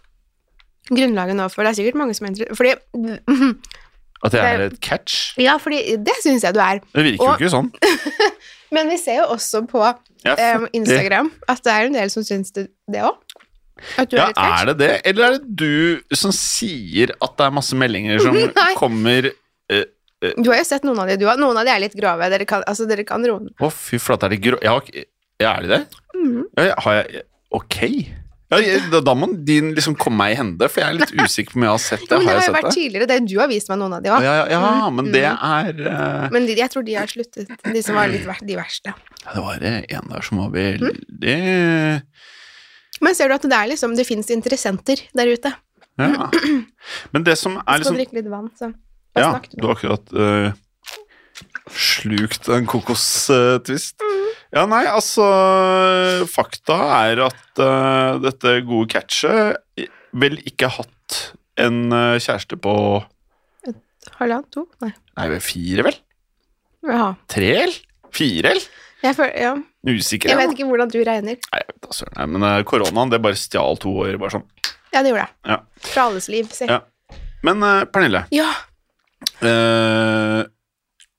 [SPEAKER 1] grunnlaget nå, for det er sikkert mange som er interessert Fordi
[SPEAKER 2] At det er
[SPEAKER 1] Det-
[SPEAKER 2] et catch?
[SPEAKER 1] Ja, fordi det syns jeg du er.
[SPEAKER 2] Det virker
[SPEAKER 1] Og-
[SPEAKER 2] jo ikke sånn.
[SPEAKER 1] Men vi ser jo også på
[SPEAKER 2] Jeg
[SPEAKER 1] eh,
[SPEAKER 2] fatter-
[SPEAKER 1] Instagram at det er en del som syns det òg. At du
[SPEAKER 2] Ja,
[SPEAKER 1] er litt catch.
[SPEAKER 2] er det det? Eller er det du som sier at det er masse meldinger som
[SPEAKER 1] Nei.
[SPEAKER 2] kommer
[SPEAKER 1] Du har jo sett noen av de, du òg. Noen av de er litt grove. Dere kan, altså, dere kan roe ned.
[SPEAKER 2] Å, fy flate, er det grå... Jeg har ikke Ja, Er det det?
[SPEAKER 1] Mm.
[SPEAKER 2] Ja, jeg- har jeg Ok. Ja, jeg- da, da må din liksom komme meg i hende, for jeg er litt usikker på om jeg har sett det.
[SPEAKER 1] Men det
[SPEAKER 2] Har
[SPEAKER 1] har jo
[SPEAKER 2] jeg sett
[SPEAKER 1] vært Mm.
[SPEAKER 2] det?
[SPEAKER 1] tidligere. Det, du har vist meg noen av de
[SPEAKER 2] Ja,
[SPEAKER 1] òg.
[SPEAKER 2] ja, ja, men det er eh,
[SPEAKER 1] Men de, jeg tror de har sluttet, de som var litt ver de verste.
[SPEAKER 2] ja, Det var eh, en der som var
[SPEAKER 1] Mm.
[SPEAKER 2] veldig
[SPEAKER 1] Men ser du at det er liksom Det fins interessenter der ute.
[SPEAKER 2] Ja. Men det som er
[SPEAKER 1] Jeg Mm. skal
[SPEAKER 2] liksom
[SPEAKER 1] drikke litt vann, så Hva
[SPEAKER 2] Ja,
[SPEAKER 1] snakket du
[SPEAKER 2] du har akkurat eh, slukt en kokostvist.
[SPEAKER 1] Mm.
[SPEAKER 2] ja, nei, altså Fakta er at eh, dette gode catchet vel ikke har hatt en eh, kjæreste på
[SPEAKER 1] Halvannen? To? Nei.
[SPEAKER 2] Nei, vel, fire, vel?
[SPEAKER 1] Jaha.
[SPEAKER 2] Tre, eller? Fire, eller?
[SPEAKER 1] Jeg, føler, ja.
[SPEAKER 2] Usikker.
[SPEAKER 1] jeg
[SPEAKER 2] Jeg
[SPEAKER 1] vet ikke hvordan du regner.
[SPEAKER 2] Nei, jeg vet da søren. Nei, Men eh, koronaen, det bare stjal to år, bare sånn.
[SPEAKER 1] Ja, det gjorde jeg.
[SPEAKER 2] Ja.
[SPEAKER 1] Fra alles liv. Si.
[SPEAKER 2] Ja. Men eh, Pernille,
[SPEAKER 1] ja.
[SPEAKER 2] eh,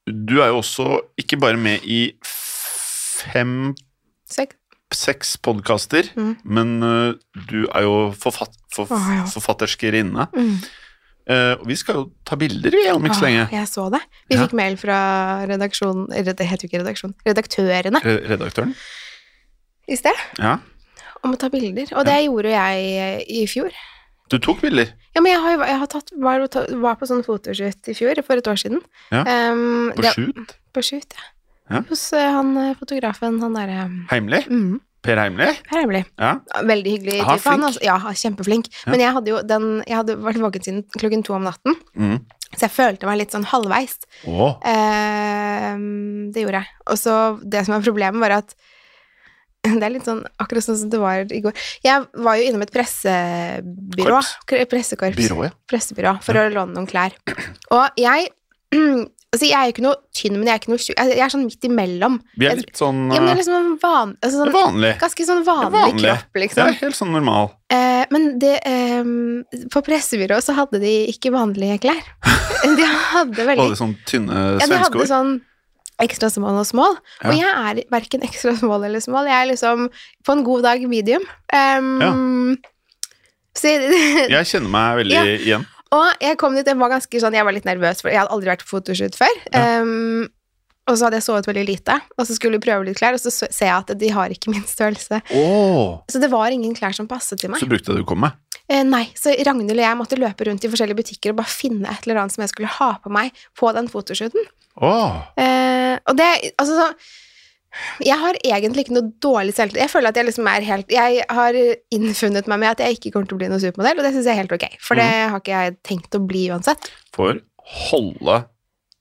[SPEAKER 2] du er jo også ikke bare med i fem
[SPEAKER 1] Sek
[SPEAKER 2] seks podkaster,
[SPEAKER 1] Mm.
[SPEAKER 2] men ø, du er jo forfatt, forf
[SPEAKER 1] Å, ja.
[SPEAKER 2] forfatterskerinne.
[SPEAKER 1] mm.
[SPEAKER 2] Eh, og vi skal jo ta bilder vi, om ikke
[SPEAKER 1] Åh,
[SPEAKER 2] så lenge.
[SPEAKER 1] Ah, Jeg så det. Vi
[SPEAKER 2] Ja.
[SPEAKER 1] fikk mail fra redaksjonen eller Det heter jo ikke redaksjon. Redaktørene
[SPEAKER 2] Re redaktøren.
[SPEAKER 1] i sted
[SPEAKER 2] Ja.
[SPEAKER 1] om å ta bilder. Og det gjorde jeg eh, i fjor.
[SPEAKER 2] Du tok bilder?
[SPEAKER 1] Ja, men jeg har, jo- jeg har tatt, var, var på sånn fotoshoot i fjor, for et år siden.
[SPEAKER 2] Ja,
[SPEAKER 1] Ehm,
[SPEAKER 2] På
[SPEAKER 1] det-
[SPEAKER 2] shoot?
[SPEAKER 1] På shoot, ja.
[SPEAKER 2] Ja.
[SPEAKER 1] Hos eh, han eh, fotografen, han derre
[SPEAKER 2] Heimlig?
[SPEAKER 1] mm,
[SPEAKER 2] Per Heimlig?
[SPEAKER 1] Per Heimli.
[SPEAKER 2] Ja.
[SPEAKER 1] Veldig hyggelig
[SPEAKER 2] Er
[SPEAKER 1] type.
[SPEAKER 2] han
[SPEAKER 1] Han,
[SPEAKER 2] flink?
[SPEAKER 1] altså, ja, han er kjempeflink.
[SPEAKER 2] Ja.
[SPEAKER 1] Men jeg hadde jo den Jeg hadde vært våken siden klokken to om natten,
[SPEAKER 2] Mm.
[SPEAKER 1] så jeg følte meg litt sånn halvveis.
[SPEAKER 2] Å,
[SPEAKER 1] Ehm, det gjorde jeg. Og så det som var problemet, var at det er litt sånn akkurat sånn som det var i går. Jeg var jo innom et pressebyrå.
[SPEAKER 2] Korps.
[SPEAKER 1] K- eh, Pressekorps.
[SPEAKER 2] Byrået,
[SPEAKER 1] Pressebyrå for å låne noen klær. Og jeg Altså, jeg er jo ikke noe tynn, men jeg er ikke noe tjukk. Jeg jeg er sånn midt imellom.
[SPEAKER 2] ja. Vi er
[SPEAKER 1] Jeg-
[SPEAKER 2] litt sånn
[SPEAKER 1] Ja, men det er
[SPEAKER 2] eh,
[SPEAKER 1] liksom en van, altså sånn,
[SPEAKER 2] vanlig.
[SPEAKER 1] ganske sånn vanlig,
[SPEAKER 2] Vanlig.
[SPEAKER 1] kropp,
[SPEAKER 2] Det
[SPEAKER 1] liksom.
[SPEAKER 2] er helt sånn normal.
[SPEAKER 1] Eh, men det, ehm, på pressebyrået så hadde de ikke vanlige klær. De hadde veldig
[SPEAKER 2] Både sånn tynne
[SPEAKER 1] ja, de hadde
[SPEAKER 2] svenskord.
[SPEAKER 1] sånn ekstra small og small.
[SPEAKER 2] Ja.
[SPEAKER 1] Og jeg er verken ekstra small eller small. Jeg er liksom på en god dag medium. Ehm, så,
[SPEAKER 2] Jeg kjenner meg veldig
[SPEAKER 1] sånn- Ja.
[SPEAKER 2] igjen.
[SPEAKER 1] og jeg kom dit, jeg var ganske sånn, jeg var litt nervøs, for jeg hadde aldri vært på fotoshoot før. Ehm, og så hadde jeg sovet veldig lite, og så skulle vi prøve litt klær, og så så- ser jeg at de har ikke min størrelse.
[SPEAKER 2] Åh,
[SPEAKER 1] Så det var ingen klær som passet til meg.
[SPEAKER 2] så brukte jeg det du kom med.
[SPEAKER 1] Eh, nei, så Ragnhild og jeg måtte løpe rundt i forskjellige butikker og bare finne et eller annet som jeg skulle ha på meg på den fotoshooten.
[SPEAKER 2] Åh,
[SPEAKER 1] Eh, og det, altså så, Jeg har egentlig ikke noe dårlig selvtillit. Jeg føler at jeg liksom er helt Jeg har innfunnet meg med at jeg ikke kommer til å bli noen supermodell, og det syns jeg er helt ok, for det
[SPEAKER 2] Mm.
[SPEAKER 1] har ikke jeg tenkt å bli uansett.
[SPEAKER 2] får holde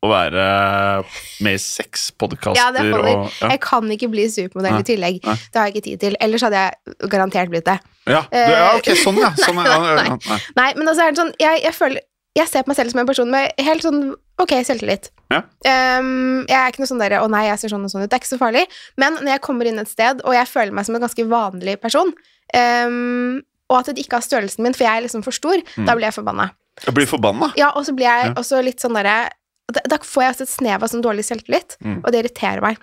[SPEAKER 2] å være med i seks
[SPEAKER 1] Ja, det
[SPEAKER 2] podkaster
[SPEAKER 1] holder.
[SPEAKER 2] og ja.
[SPEAKER 1] Jeg kan ikke bli supermodell
[SPEAKER 2] Nei,
[SPEAKER 1] i tillegg.
[SPEAKER 2] nei.
[SPEAKER 1] Det har jeg ikke tid til. Ellers hadde jeg garantert blitt det.
[SPEAKER 2] Ja, du, ja, ok, sånn, ja. Sånn, ja, ja, ja, nei.
[SPEAKER 1] Eh, Nei, men altså er det sånn Jeg, jeg føler Jeg ser på meg selv som en person med helt sånn ok selvtillit.
[SPEAKER 2] Ja.
[SPEAKER 1] Ehm, jeg er ikke noe sånn derre 'Å nei, jeg ser sånn og sånn ut'. Det er ikke så farlig. Men når jeg kommer inn et sted, og jeg føler meg som en ganske vanlig person, ehm, og at det ikke har størrelsen min, for jeg er liksom for stor,
[SPEAKER 2] Mm.
[SPEAKER 1] da blir jeg forbanna.
[SPEAKER 2] Jeg blir forbanna.
[SPEAKER 1] Ja, og så blir jeg
[SPEAKER 2] Ja.
[SPEAKER 1] også litt sånn derre da, da får jeg altså et snev av sånn dårlig selvtillit,
[SPEAKER 2] Mm.
[SPEAKER 1] og det irriterer meg.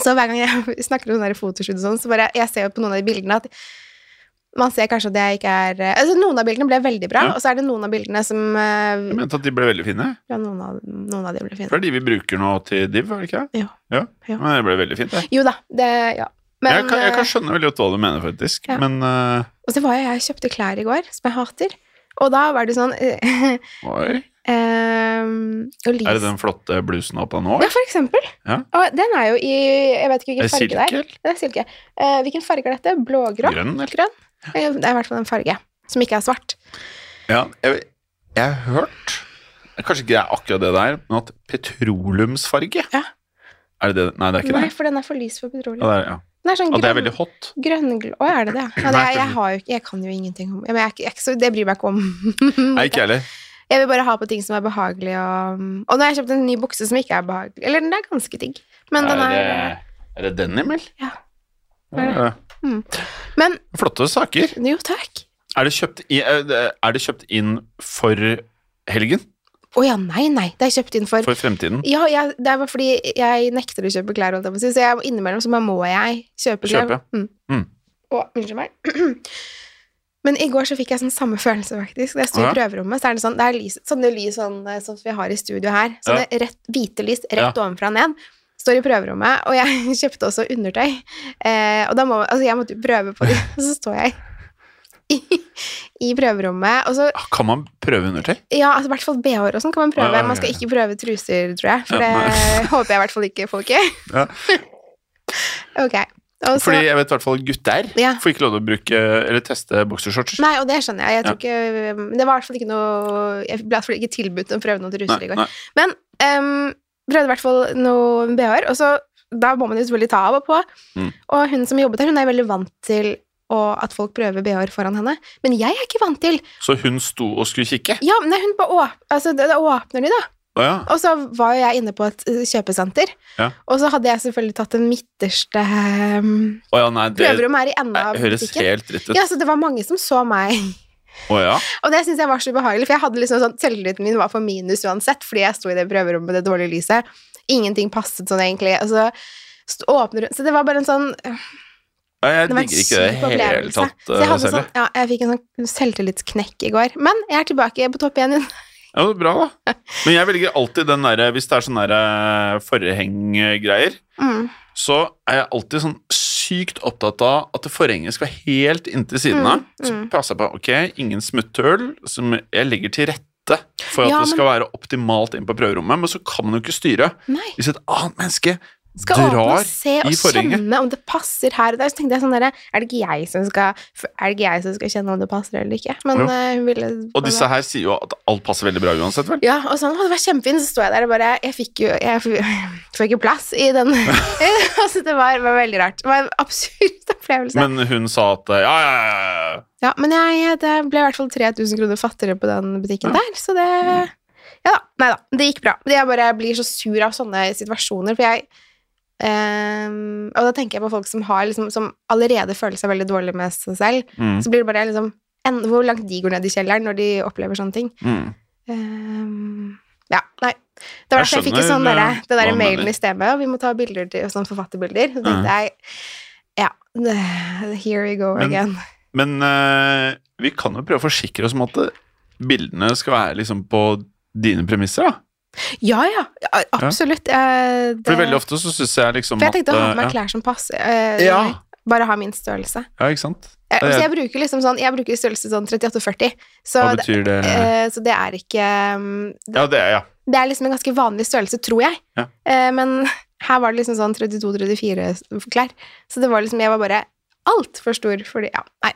[SPEAKER 1] Så hver gang jeg snakker om sånne der fotoshoot og sånn, så bare Jeg ser jo på noen av de bildene at man ser kanskje at jeg ikke er Altså, noen av bildene ble veldig bra,
[SPEAKER 2] Ja.
[SPEAKER 1] og så er det noen av bildene som eh,
[SPEAKER 2] Jeg mente at de ble veldig fine.
[SPEAKER 1] Ja, noen av, noen av de ble
[SPEAKER 2] For
[SPEAKER 1] fine.
[SPEAKER 2] det er de vi bruker nå til div, er det ikke? det?
[SPEAKER 1] Ja. Ja.
[SPEAKER 2] Men det ble veldig fint, det.
[SPEAKER 1] Jo da, det Ja. Men
[SPEAKER 2] jeg, kan, jeg kan
[SPEAKER 1] eh,
[SPEAKER 2] skjønne veldig godt hva du mener, faktisk.
[SPEAKER 1] Ja.
[SPEAKER 2] Men eh,
[SPEAKER 1] Og så var jeg Jeg kjøpte klær i går som jeg hater, og da var det sånn eh,
[SPEAKER 2] oi,
[SPEAKER 1] ehm, og lys-
[SPEAKER 2] Er det den flotte blusen opp av nå?
[SPEAKER 1] Ja, for eksempel.
[SPEAKER 2] Ja.
[SPEAKER 1] Og den er jo i Jeg vet ikke
[SPEAKER 2] Er
[SPEAKER 1] hvilken
[SPEAKER 2] det
[SPEAKER 1] farge det er.
[SPEAKER 2] silke?
[SPEAKER 1] Det er silke. Eh, hvilken farge er dette? Blågrå?
[SPEAKER 2] Grønn? eller?
[SPEAKER 1] Grønn? Eh, Det er i hvert fall en farge som ikke er svart.
[SPEAKER 2] Ja, jeg, jeg har hørt Kanskje ikke det er akkurat det der, men at petroleumsfarge
[SPEAKER 1] Ja.
[SPEAKER 2] Er det det? Nei, det er ikke
[SPEAKER 1] Nei,
[SPEAKER 2] det.
[SPEAKER 1] for den er for lys for petroleum.
[SPEAKER 2] Ja, det er, ja.
[SPEAKER 1] Den er sånn
[SPEAKER 2] At det er
[SPEAKER 1] grønn,
[SPEAKER 2] veldig hot.
[SPEAKER 1] grønngl... Å, er det det? Ja, det
[SPEAKER 2] Nei,
[SPEAKER 1] jeg, jeg,
[SPEAKER 2] fordi-
[SPEAKER 1] har jo ikke, jeg kan jo ingenting om ja, men jeg, er ikke- jeg, er ikke så- Det bryr meg ikke om.
[SPEAKER 2] Nei, ikke jeg heller.
[SPEAKER 1] Jeg vil bare ha på ting som er behagelig, og Og nå har jeg kjøpt en ny bukse som ikke er behagelig. Eller den er ganske digg, men den er
[SPEAKER 2] det- er det denim, eller?
[SPEAKER 1] Ja.
[SPEAKER 2] Ja.
[SPEAKER 1] Mm. Men
[SPEAKER 2] Flotte saker.
[SPEAKER 1] Jo, takk.
[SPEAKER 2] Er det, kjøpt i, er det kjøpt inn for helgen?
[SPEAKER 1] Å ja, nei, nei. Det er kjøpt inn for
[SPEAKER 2] For fremtiden?
[SPEAKER 1] Ja, jeg, det er bare fordi jeg nekter å kjøpe klær, holdt jeg på å si, så jeg, innimellom så bare må jeg kjøpe klær.
[SPEAKER 2] Kjøpe.
[SPEAKER 1] Mm.
[SPEAKER 2] Mm.
[SPEAKER 1] Å, unnskyld meg. Men i går så fikk jeg sånn samme følelse, faktisk. Da jeg sto
[SPEAKER 2] Ja.
[SPEAKER 1] i prøverommet, så er det sånn, det er lys, sånne lys sånn, eh, sånn som vi har i studio her. Sånne rett, hvite lys rett
[SPEAKER 2] Ja.
[SPEAKER 1] ovenfra og ned. Står i prøverommet, og jeg kjøpte også undertøy. Eh, og da må, altså jeg måtte jo prøve på det, og så står jeg i, i prøverommet, og så
[SPEAKER 2] Ah, Kan man prøve undertøy?
[SPEAKER 1] ja, altså i hvert fall BH-er og sånn kan man prøve.
[SPEAKER 2] Ja, ja, ja,
[SPEAKER 1] Man skal
[SPEAKER 2] ja.
[SPEAKER 1] ikke prøve truser, tror jeg. For
[SPEAKER 2] Ja, nei.
[SPEAKER 1] det håper jeg i hvert fall ikke folk gjør.
[SPEAKER 2] Ja.
[SPEAKER 1] ok. Og så,
[SPEAKER 2] Fordi jeg vet i hvert fall gutter
[SPEAKER 1] Altså- Ja.
[SPEAKER 2] får ikke lov til å bruke eller teste boksershorts.
[SPEAKER 1] Nei, og det skjønner jeg. jeg tror ikke, men det var i hvert fall ikke noe Jeg ble i hvert fall ikke tilbudt å prøve noen truser i går.
[SPEAKER 2] nei.
[SPEAKER 1] Em, prøvde i hvert fall noen BH-er, og så da må man jo selvfølgelig ta av og på.
[SPEAKER 2] Mm.
[SPEAKER 1] Og hun som jobbet der, hun er veldig vant til å- at folk prøver BH-er foran henne. Men jeg er ikke vant til
[SPEAKER 2] Så hun sto og skulle kikke?
[SPEAKER 1] Ja, men hun bare åp altså, da da åpner de, da.
[SPEAKER 2] Å ja.
[SPEAKER 1] Og så var jo jeg inne på et eh, kjøpesenter,
[SPEAKER 2] Ja.
[SPEAKER 1] og så hadde jeg selvfølgelig tatt den midterste ehm,
[SPEAKER 2] Å ja, nei, det
[SPEAKER 1] prøverommet her i enden
[SPEAKER 2] nei,
[SPEAKER 1] av
[SPEAKER 2] høres
[SPEAKER 1] butikken.
[SPEAKER 2] helt dritt ut.
[SPEAKER 1] Ja, så det var mange som så meg,
[SPEAKER 2] Å ja.
[SPEAKER 1] og det syns jeg var så ubehagelig, for jeg hadde liksom sånn, selvtilliten min var for minus uansett, fordi jeg sto i det prøverommet med det dårlige lyset. Ingenting passet sånn, egentlig. Og så st- åpner hun Så det var bare en sånn
[SPEAKER 2] Ja, Jeg
[SPEAKER 1] Det var en
[SPEAKER 2] digger ikke det i
[SPEAKER 1] kjip
[SPEAKER 2] det hele
[SPEAKER 1] opplevelse.
[SPEAKER 2] tatt, eh,
[SPEAKER 1] Så jeg, hadde
[SPEAKER 2] Sally.
[SPEAKER 1] sånn, ja, jeg fikk en sånn selvtillitsknekk i går. Men jeg er tilbake på topp igjen.
[SPEAKER 2] Ja, det er bra, da. Men jeg velger alltid den derre Hvis det er sånne der, eh, sånn forhenggreier,
[SPEAKER 1] Mm.
[SPEAKER 2] så er jeg alltid sånn sykt opptatt av at det forhenget skal være helt inntil siden av.
[SPEAKER 1] Mm,
[SPEAKER 2] Så
[SPEAKER 1] mm.
[SPEAKER 2] passer jeg på ok, ingen smutthull. Som jeg legger til rette for at
[SPEAKER 1] Ja,
[SPEAKER 2] det
[SPEAKER 1] men-
[SPEAKER 2] skal være optimalt inn på prøverommet, men så kan man jo ikke styre
[SPEAKER 1] Nei.
[SPEAKER 2] hvis et annet menneske
[SPEAKER 1] Skal åpne
[SPEAKER 2] drar
[SPEAKER 1] og se og
[SPEAKER 2] i forhenget.
[SPEAKER 1] kjenne om det passer her og der. Så tenkte jeg sånn derre Er det ikke jeg som skal Er det ikke jeg som skal kjenne om det passer eller ikke? Men
[SPEAKER 2] Jo.
[SPEAKER 1] eh, hun ville
[SPEAKER 2] Og disse her sier jo at alt passer veldig bra uansett, vel?
[SPEAKER 1] Ja, og sånn, «Å, det var kjempefint, så sto jeg der og bare, jeg fikk jo, jeg f- fikk jo plass i den, altså det var, var veldig rart, det var en absurd opplevelse.
[SPEAKER 2] Men hun sa at ja, ja, ja, ja.
[SPEAKER 1] ja, men jeg, det ble i hvert fall 3000 kroner fattigere på den butikken der, så det, ja da, nei da, det gikk bra. Men Jeg bare blir så sur av sånne situasjoner, for jeg, ehm, og da tenker jeg på folk som har, liksom, som allerede føler seg veldig dårlig med seg selv,
[SPEAKER 2] Mm,
[SPEAKER 1] så blir det bare liksom, en, hvor langt de går ned i kjelleren når de opplever sånne ting.
[SPEAKER 2] mm.
[SPEAKER 1] Ehm, ja, nei. Det var
[SPEAKER 2] Jeg
[SPEAKER 1] derfor jeg fikk en
[SPEAKER 2] skjønner,
[SPEAKER 1] sånn derre-
[SPEAKER 2] eh,
[SPEAKER 1] den
[SPEAKER 2] hva
[SPEAKER 1] der
[SPEAKER 2] du
[SPEAKER 1] mailen
[SPEAKER 2] mener. Mm.
[SPEAKER 1] i sted med, og vi må ta bilder til, og sånn forfatterbilder. Så tenkte jeg, ja, det- here we go
[SPEAKER 2] Men-
[SPEAKER 1] again.
[SPEAKER 2] Men eh, vi kan jo prøve å forsikre oss om at eh, bildene skal være liksom på dine premisser, da.
[SPEAKER 1] Ja, ja, a- absolutt. eh, det-
[SPEAKER 2] For veldig ofte så syns jeg liksom
[SPEAKER 1] for jeg tenkte å ha
[SPEAKER 2] eh,
[SPEAKER 1] på meg klær som passer. eh,
[SPEAKER 2] ja. ja,
[SPEAKER 1] Bare ha min størrelse.
[SPEAKER 2] ja, ikke sant?
[SPEAKER 1] Eh,
[SPEAKER 2] Det-
[SPEAKER 1] så jeg bruker liksom sånn, jeg bruker størrelse sånn 38-40,
[SPEAKER 2] Hva
[SPEAKER 1] så, det-
[SPEAKER 2] betyr det?
[SPEAKER 1] eh, så det er ikke um,
[SPEAKER 2] Ja, det er ja.
[SPEAKER 1] Det er liksom en ganske vanlig størrelse, tror jeg.
[SPEAKER 2] Ja.
[SPEAKER 1] Eh, men her var det liksom sånn 32-34 klær. Så det var liksom Jeg var bare altfor stor fordi Ja, nei.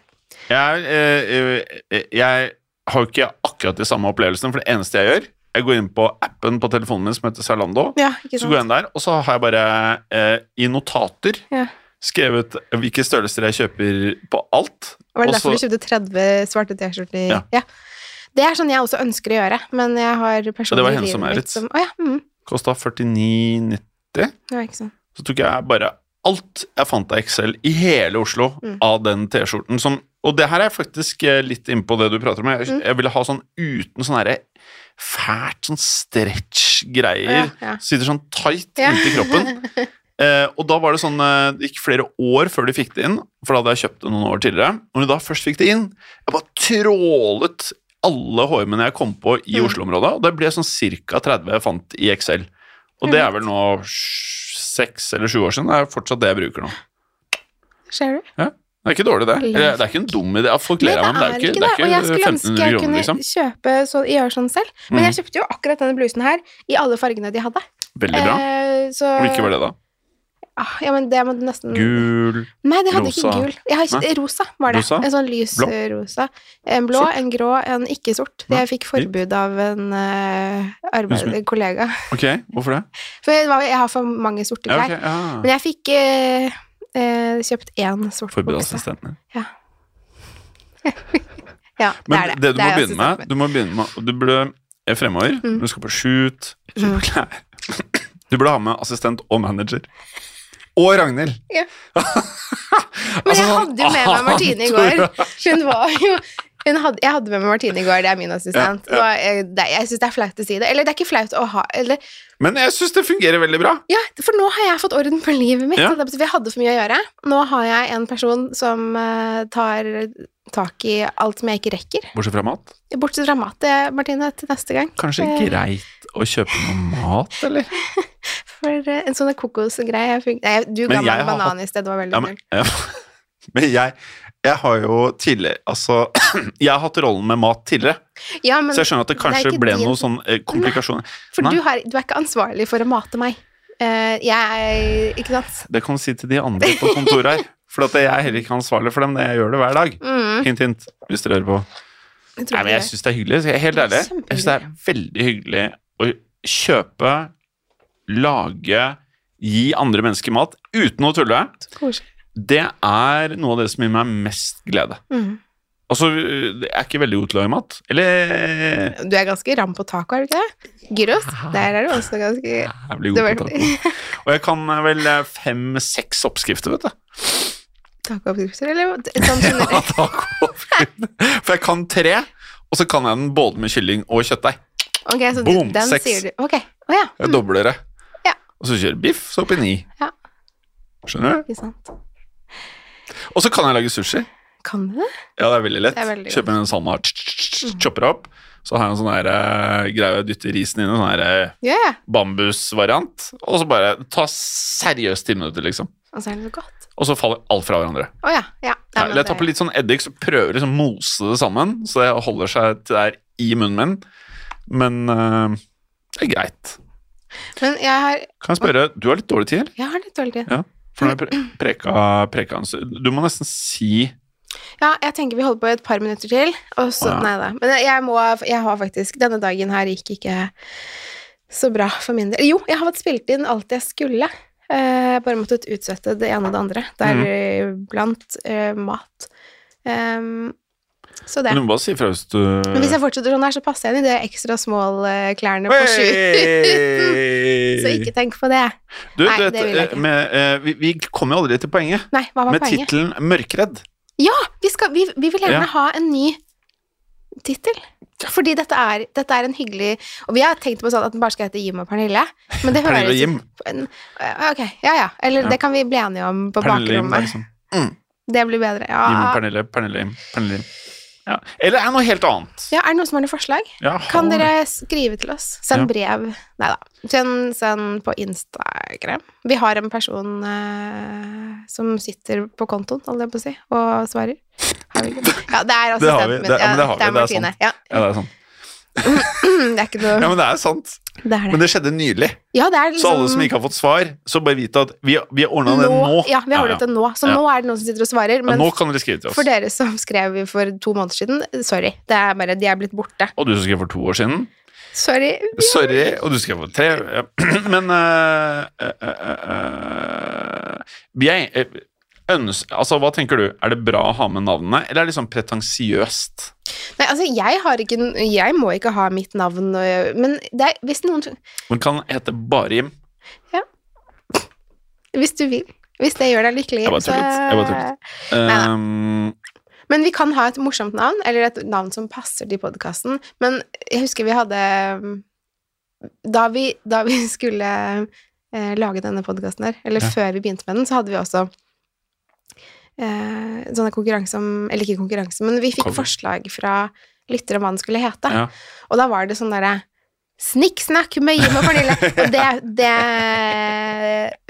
[SPEAKER 2] Jeg, eh, eh, jeg har jo ikke akkurat de samme opplevelsene, for det eneste jeg gjør Jeg går inn på appen på telefonen min som heter Zalando.
[SPEAKER 1] Ja, ikke
[SPEAKER 2] Så går jeg
[SPEAKER 1] sant.
[SPEAKER 2] inn der, og så har jeg bare eh, i notater
[SPEAKER 1] Ja.
[SPEAKER 2] skrevet hvilke størrelser jeg kjøper på alt.
[SPEAKER 1] Var det
[SPEAKER 2] og
[SPEAKER 1] derfor
[SPEAKER 2] så-
[SPEAKER 1] du kjøpte 30 svarte T-skjorter?
[SPEAKER 2] Ja.
[SPEAKER 1] Det er sånn jeg også ønsker å gjøre, men jeg har personlig
[SPEAKER 2] henne som Merit.
[SPEAKER 1] Å ja. Mm.
[SPEAKER 2] Kosta 49,90.
[SPEAKER 1] ja ikke sant.
[SPEAKER 2] Så tok jeg bare alt jeg fant av Excel i hele Oslo
[SPEAKER 1] Mm.
[SPEAKER 2] av den T-skjorten som Og det her er jeg faktisk eh, litt inne på det du prater om. Jeg,
[SPEAKER 1] Mm.
[SPEAKER 2] jeg ville ha sånn uten sånn herre fælt sånn
[SPEAKER 1] Å,
[SPEAKER 2] stretch-greier.
[SPEAKER 1] ja, ja.
[SPEAKER 2] Sitter sånn tight
[SPEAKER 1] Ja.
[SPEAKER 2] inntil kroppen. Eh, og da var det sånn eh, Det gikk flere år før de fikk det inn, for da hadde jeg kjøpt det noen år tidligere. Og når de da først fikk det inn, jeg bare trålet alle hårmennene jeg kom på i
[SPEAKER 1] Mm.
[SPEAKER 2] Oslo-området, og det ble sånn ca. 30 jeg fant i Excel. Og
[SPEAKER 1] Mhm.
[SPEAKER 2] det er vel nå sj- seks eller sju år siden. Det er fortsatt det jeg bruker nå.
[SPEAKER 1] Ser du?
[SPEAKER 2] Det er ikke dårlig, det.
[SPEAKER 1] Lek.
[SPEAKER 2] Eller, det er ikke en dum idé. Ja, Folk ler av meg, men det er ikke, det er
[SPEAKER 1] Og jeg
[SPEAKER 2] ikke
[SPEAKER 1] skulle ønske
[SPEAKER 2] 1500
[SPEAKER 1] jeg
[SPEAKER 2] kroner,
[SPEAKER 1] kunne
[SPEAKER 2] liksom.
[SPEAKER 1] kjøpe så, gjøre sånn selv, men
[SPEAKER 2] Mm.
[SPEAKER 1] jeg kjøpte jo akkurat denne blusen her i alle fargene de hadde.
[SPEAKER 2] Veldig bra.
[SPEAKER 1] Eh, så
[SPEAKER 2] Hvilken var det, da?
[SPEAKER 1] Ah, ja, men det må du nesten
[SPEAKER 2] Gul
[SPEAKER 1] Nei, det hadde ikke
[SPEAKER 2] Rosa.
[SPEAKER 1] gul. Jeg har ikke, rosa var det.
[SPEAKER 2] Rosa?
[SPEAKER 1] En sånn lys
[SPEAKER 2] Blå?
[SPEAKER 1] eh, rosa. En blå,
[SPEAKER 2] Sort?
[SPEAKER 1] en grå, en ikke-sort.
[SPEAKER 2] Nei,
[SPEAKER 1] Jeg fikk forbud av en eh, arbeid,
[SPEAKER 2] Unnskyld.
[SPEAKER 1] kollega.
[SPEAKER 2] Ok, hvorfor det?
[SPEAKER 1] For det var, jeg har for mange sorte
[SPEAKER 2] Ja, ok,
[SPEAKER 1] klær.
[SPEAKER 2] ja.
[SPEAKER 1] Men jeg fikk eh, eh, kjøpt én sort
[SPEAKER 2] Forbud av
[SPEAKER 1] bukse.
[SPEAKER 2] assistenten.
[SPEAKER 1] Ja, det
[SPEAKER 2] Men
[SPEAKER 1] er det.
[SPEAKER 2] det, du
[SPEAKER 1] Det er
[SPEAKER 2] må begynne med,
[SPEAKER 1] assistenten
[SPEAKER 2] du må begynne med Du burde eh, fremover
[SPEAKER 1] Mm.
[SPEAKER 2] Du skal på shoot,
[SPEAKER 1] Mm.
[SPEAKER 2] kjøpe klær Du burde ha med assistent og manager. Og Ragnhild!
[SPEAKER 1] Ja.
[SPEAKER 2] Altså,
[SPEAKER 1] Men jeg
[SPEAKER 2] sånn,
[SPEAKER 1] hadde jo med meg Martine i går.
[SPEAKER 2] Antora.
[SPEAKER 1] Hun var jo hun hadde, jeg hadde med meg Martine i går, det er min assistent.
[SPEAKER 2] Ja,
[SPEAKER 1] Og, eh, det, jeg syns det er flaut å si det. Eller det er ikke flaut å ha eller,
[SPEAKER 2] Men jeg syns det fungerer veldig bra.
[SPEAKER 1] Ja, for nå har jeg fått orden på livet mitt.
[SPEAKER 2] Ja.
[SPEAKER 1] og det betyr- Jeg hadde for mye å gjøre. Nå har jeg en person som eh, tar tak i alt som jeg ikke rekker.
[SPEAKER 2] Bortsett fra mat.
[SPEAKER 1] Bortsett fra mat, eh, Martine, til neste gang.
[SPEAKER 2] Kanskje
[SPEAKER 1] Eh.
[SPEAKER 2] greit å kjøpe noe mat, eller?
[SPEAKER 1] For eh, en sånn kokosgreie jeg fun- Nei, du
[SPEAKER 2] Men
[SPEAKER 1] ga meg
[SPEAKER 2] jeg
[SPEAKER 1] en
[SPEAKER 2] har
[SPEAKER 1] banan i sted, det var veldig
[SPEAKER 2] Ja, men, ja. men jeg, jeg har jo tidligere Altså, jeg har hatt rollen med mat tidligere,
[SPEAKER 1] snill. Ja, men
[SPEAKER 2] så jeg skjønner at det
[SPEAKER 1] det er
[SPEAKER 2] kanskje
[SPEAKER 1] ikke
[SPEAKER 2] ble
[SPEAKER 1] din-
[SPEAKER 2] noe sånn eh, komplikasjoner.
[SPEAKER 1] for
[SPEAKER 2] nei.
[SPEAKER 1] du, har, du er ikke ansvarlig for å mate meg. Eh, jeg Ikke sant?
[SPEAKER 2] Det kan du si til de andre på kontoret her. For at jeg er heller ikke ansvarlig for dem, men jeg gjør det hver dag.
[SPEAKER 1] Mm,
[SPEAKER 2] Hint, hint, hvis dere hører på.
[SPEAKER 1] jeg tror
[SPEAKER 2] Nei, men jeg
[SPEAKER 1] det.
[SPEAKER 2] syns det er hyggelig. Skal jeg være helt ærlig.
[SPEAKER 1] Kjempehyggelig.
[SPEAKER 2] Jeg syns det er veldig hyggelig å kjøpe, lage, gi andre mennesker mat uten å tulle.
[SPEAKER 1] Så koselig.
[SPEAKER 2] Det er noe av det som gir meg mest glede.
[SPEAKER 1] Mm.
[SPEAKER 2] Altså, jeg er ikke veldig god til å lage mat. Eller eh,
[SPEAKER 1] Du er ganske ram på taco, er du ikke det? Gyros? Der er du også ganske Det
[SPEAKER 2] jævlig god
[SPEAKER 1] var-
[SPEAKER 2] på taco. Og jeg kan eh, vel fem-seks oppskrifter, vet du.
[SPEAKER 1] tacooppskrifter, eller? Sånn generelt.
[SPEAKER 2] Ja, taco. For jeg kan tre, og så kan jeg den både med kylling og kjøttdeig.
[SPEAKER 1] Ok, så
[SPEAKER 2] Boom,
[SPEAKER 1] den
[SPEAKER 2] seks.
[SPEAKER 1] sier du. Ok, å ja.
[SPEAKER 2] Jeg dobler det.
[SPEAKER 1] Mm. Ja.
[SPEAKER 2] Og så kjører biff, så opp i ni.
[SPEAKER 1] Ja.
[SPEAKER 2] Skjønner du?
[SPEAKER 1] Ikke sant.
[SPEAKER 2] Og så kan jeg lage sushi.
[SPEAKER 1] Kan du det?
[SPEAKER 2] Ja, det er veldig lett.
[SPEAKER 1] Det er veldig
[SPEAKER 2] Kjøper en salma, tsk, tsk, tsk, chopper det opp. Så har jeg en sånn her, eh, greie å dytte risen inn i, en sånn her eh,
[SPEAKER 1] Ja, ja.
[SPEAKER 2] bambusvariant. Og så bare ta seriøst ti minutter, liksom.
[SPEAKER 1] Og så er det noe godt.
[SPEAKER 2] Og så faller alt fra hverandre.
[SPEAKER 1] Å ja. ja.
[SPEAKER 2] Ja,
[SPEAKER 1] Nei, men
[SPEAKER 2] eller jeg
[SPEAKER 1] det-
[SPEAKER 2] tar på litt sånn eddik, så prøver jeg liksom å mose det sammen, så det holder seg til der i munnen min. Men eh, det er greit.
[SPEAKER 1] Men jeg har,
[SPEAKER 2] Kan jeg spørre, du har litt dårlig tid, eller?
[SPEAKER 1] jeg har litt dårlig tid.
[SPEAKER 2] For nå har jeg pre- preka, preka en stund. Du må nesten si
[SPEAKER 1] Ja, jeg tenker vi holder på et par minutter til, og så
[SPEAKER 2] Å, ja.
[SPEAKER 1] Nei da. Men jeg må Jeg har faktisk Denne dagen her gikk ikke så bra for min del. Jo, jeg har fått spilt inn alt jeg skulle. Eh, bare måttet utsette det ene og det andre, deriblant eh, mat. Em, så det.
[SPEAKER 2] Men du må bare si fra hvis du
[SPEAKER 1] Men hvis jeg fortsetter sånn her, så passer jeg inn i de ekstra small-klærne på sju.
[SPEAKER 2] Hey!
[SPEAKER 1] så ikke tenk på det.
[SPEAKER 2] Du,
[SPEAKER 1] Nei,
[SPEAKER 2] du vet,
[SPEAKER 1] det vil jeg
[SPEAKER 2] eh,
[SPEAKER 1] ikke.
[SPEAKER 2] Med, eh, vi, vi kommer jo aldri til poenget.
[SPEAKER 1] Nei, hva var
[SPEAKER 2] Med
[SPEAKER 1] poenget?
[SPEAKER 2] tittelen 'Mørkredd'.
[SPEAKER 1] Vi, skal, vi, vi vil gjerne
[SPEAKER 2] Ja.
[SPEAKER 1] ha en ny tittel. Fordi dette er, dette er en hyggelig Og vi har tenkt på sånn at den bare skal hete Jim og Pernille. Men det
[SPEAKER 2] Pernille
[SPEAKER 1] høres
[SPEAKER 2] og Jim.
[SPEAKER 1] en- eh, Ok, ja ja. Eller
[SPEAKER 2] Ja.
[SPEAKER 1] det kan vi bli enige om på
[SPEAKER 2] Pernille og Jim, det er
[SPEAKER 1] bakrommet. Ah.
[SPEAKER 2] liksom.
[SPEAKER 1] Det blir bedre.
[SPEAKER 2] Jim
[SPEAKER 1] Ja.
[SPEAKER 2] og Pernille, Pernille og Jim. Pernille og Jim. Ja. Eller er det noe helt annet.
[SPEAKER 1] ja, Er det noen som har noen forslag?
[SPEAKER 2] Ja,
[SPEAKER 1] Kan
[SPEAKER 2] har-
[SPEAKER 1] dere skrive til oss? Send brev. Nei da. Send, send på Instagram. Vi har en person eh, som sitter på kontoen, holdt jeg på å si, og svarer. Har vi ikke det? Ja, det er
[SPEAKER 2] Det har
[SPEAKER 1] assistenten
[SPEAKER 2] vi.
[SPEAKER 1] min.
[SPEAKER 2] Det- ja,
[SPEAKER 1] Ja,
[SPEAKER 2] men det har vi.
[SPEAKER 1] det er
[SPEAKER 2] Det er
[SPEAKER 1] Martine. Ja.
[SPEAKER 2] Ja, det er sant.
[SPEAKER 1] Det er ikke noe
[SPEAKER 2] Ja, men det er sant.
[SPEAKER 1] Det er
[SPEAKER 2] Men
[SPEAKER 1] det.
[SPEAKER 2] det skjedde nylig.
[SPEAKER 1] Ja, det er liksom,
[SPEAKER 2] Så alle som ikke har fått svar, så bare vite at vi, vi har ordna det nå.
[SPEAKER 1] Ja, vi har ordnet det nå. Så
[SPEAKER 2] Ja.
[SPEAKER 1] nå er det noen som sitter og svarer.
[SPEAKER 2] Ja,
[SPEAKER 1] Men
[SPEAKER 2] nå kan dere skrive til
[SPEAKER 1] for
[SPEAKER 2] oss.
[SPEAKER 1] dere som skrev for to måneder siden, sorry. Det er bare, De er blitt borte.
[SPEAKER 2] Og du som skrev for to år siden.
[SPEAKER 1] Sorry.
[SPEAKER 2] Sorry. Og du skrev for tre ja. Men eh, eh, eh, eh, vi er- eh, øns- Altså, hva tenker du? Er det bra å ha med navnene, eller er det liksom pretensiøst?
[SPEAKER 1] Nei, altså, jeg har ikke Jeg må ikke ha mitt navn, og- men det er, hvis noen
[SPEAKER 2] Man kan hete bare Jim.
[SPEAKER 1] Hvis du vil. Hvis det gjør deg lykkelig.
[SPEAKER 2] Jeg bare
[SPEAKER 1] så-
[SPEAKER 2] tullet. Jeg bare tullet. Um,
[SPEAKER 1] Men vi kan ha et morsomt navn, eller et navn som passer til podkasten. Men jeg husker vi hadde mm, Da vi, da vi skulle eh, lage denne podkasten her, eller
[SPEAKER 2] Ja.
[SPEAKER 1] før vi begynte med den, så hadde vi også eh, sånne konkurranse om Eller ikke konkurranse, men vi fikk
[SPEAKER 2] Cover.
[SPEAKER 1] forslag fra lyttere om hva den skulle hete.
[SPEAKER 2] Ja.
[SPEAKER 1] Og da var det sånn derre Snikksnakk med Jim og Pernille. Og det, det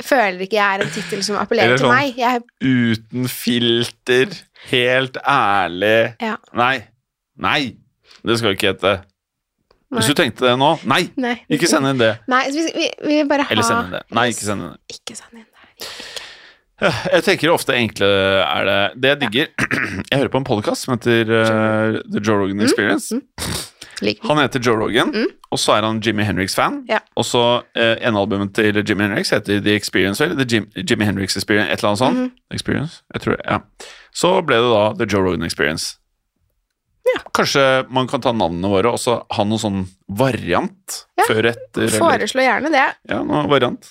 [SPEAKER 1] føler ikke jeg er en tittel som appellerer
[SPEAKER 2] Eller
[SPEAKER 1] til
[SPEAKER 2] sånn,
[SPEAKER 1] meg. Jeg,
[SPEAKER 2] Uten filter, helt ærlig
[SPEAKER 1] Ja.
[SPEAKER 2] Nei. Nei! Det skal vi ikke hete.
[SPEAKER 1] nei,
[SPEAKER 2] Hvis du tenkte det nå, nei!
[SPEAKER 1] nei,
[SPEAKER 2] Ikke send inn det.
[SPEAKER 1] Nei, så vi, vi, vi vil bare ha
[SPEAKER 2] Eller send inn det. Nei, ikke send inn det.
[SPEAKER 1] Ikke send inn det.
[SPEAKER 2] Ja, Jeg tenker ofte enkle er det Det jeg digger Jeg hører på en podkast som heter eh, The Joe
[SPEAKER 1] Mm.
[SPEAKER 2] Rogan Experience.
[SPEAKER 1] Ligger den.
[SPEAKER 2] Han heter Joe Rogan,
[SPEAKER 1] Mm.
[SPEAKER 2] og så er han Jimmy Henriks-fan.
[SPEAKER 1] Ja.
[SPEAKER 2] Og så eh, en albumet til Jimmy Henriks heter The Experience, eller The Jim, Jimmy Henriks Experience, et eller annet sånt.
[SPEAKER 1] Mhm.
[SPEAKER 2] Experience, jeg tror det, ja. Så ble det da The Joe Rogan Experience. Kanskje man kan ta navnene våre og så ha noen sånn variant
[SPEAKER 1] Ja,
[SPEAKER 2] før etter. Eller,
[SPEAKER 1] Foreslå gjerne det.
[SPEAKER 2] ja, noe variant.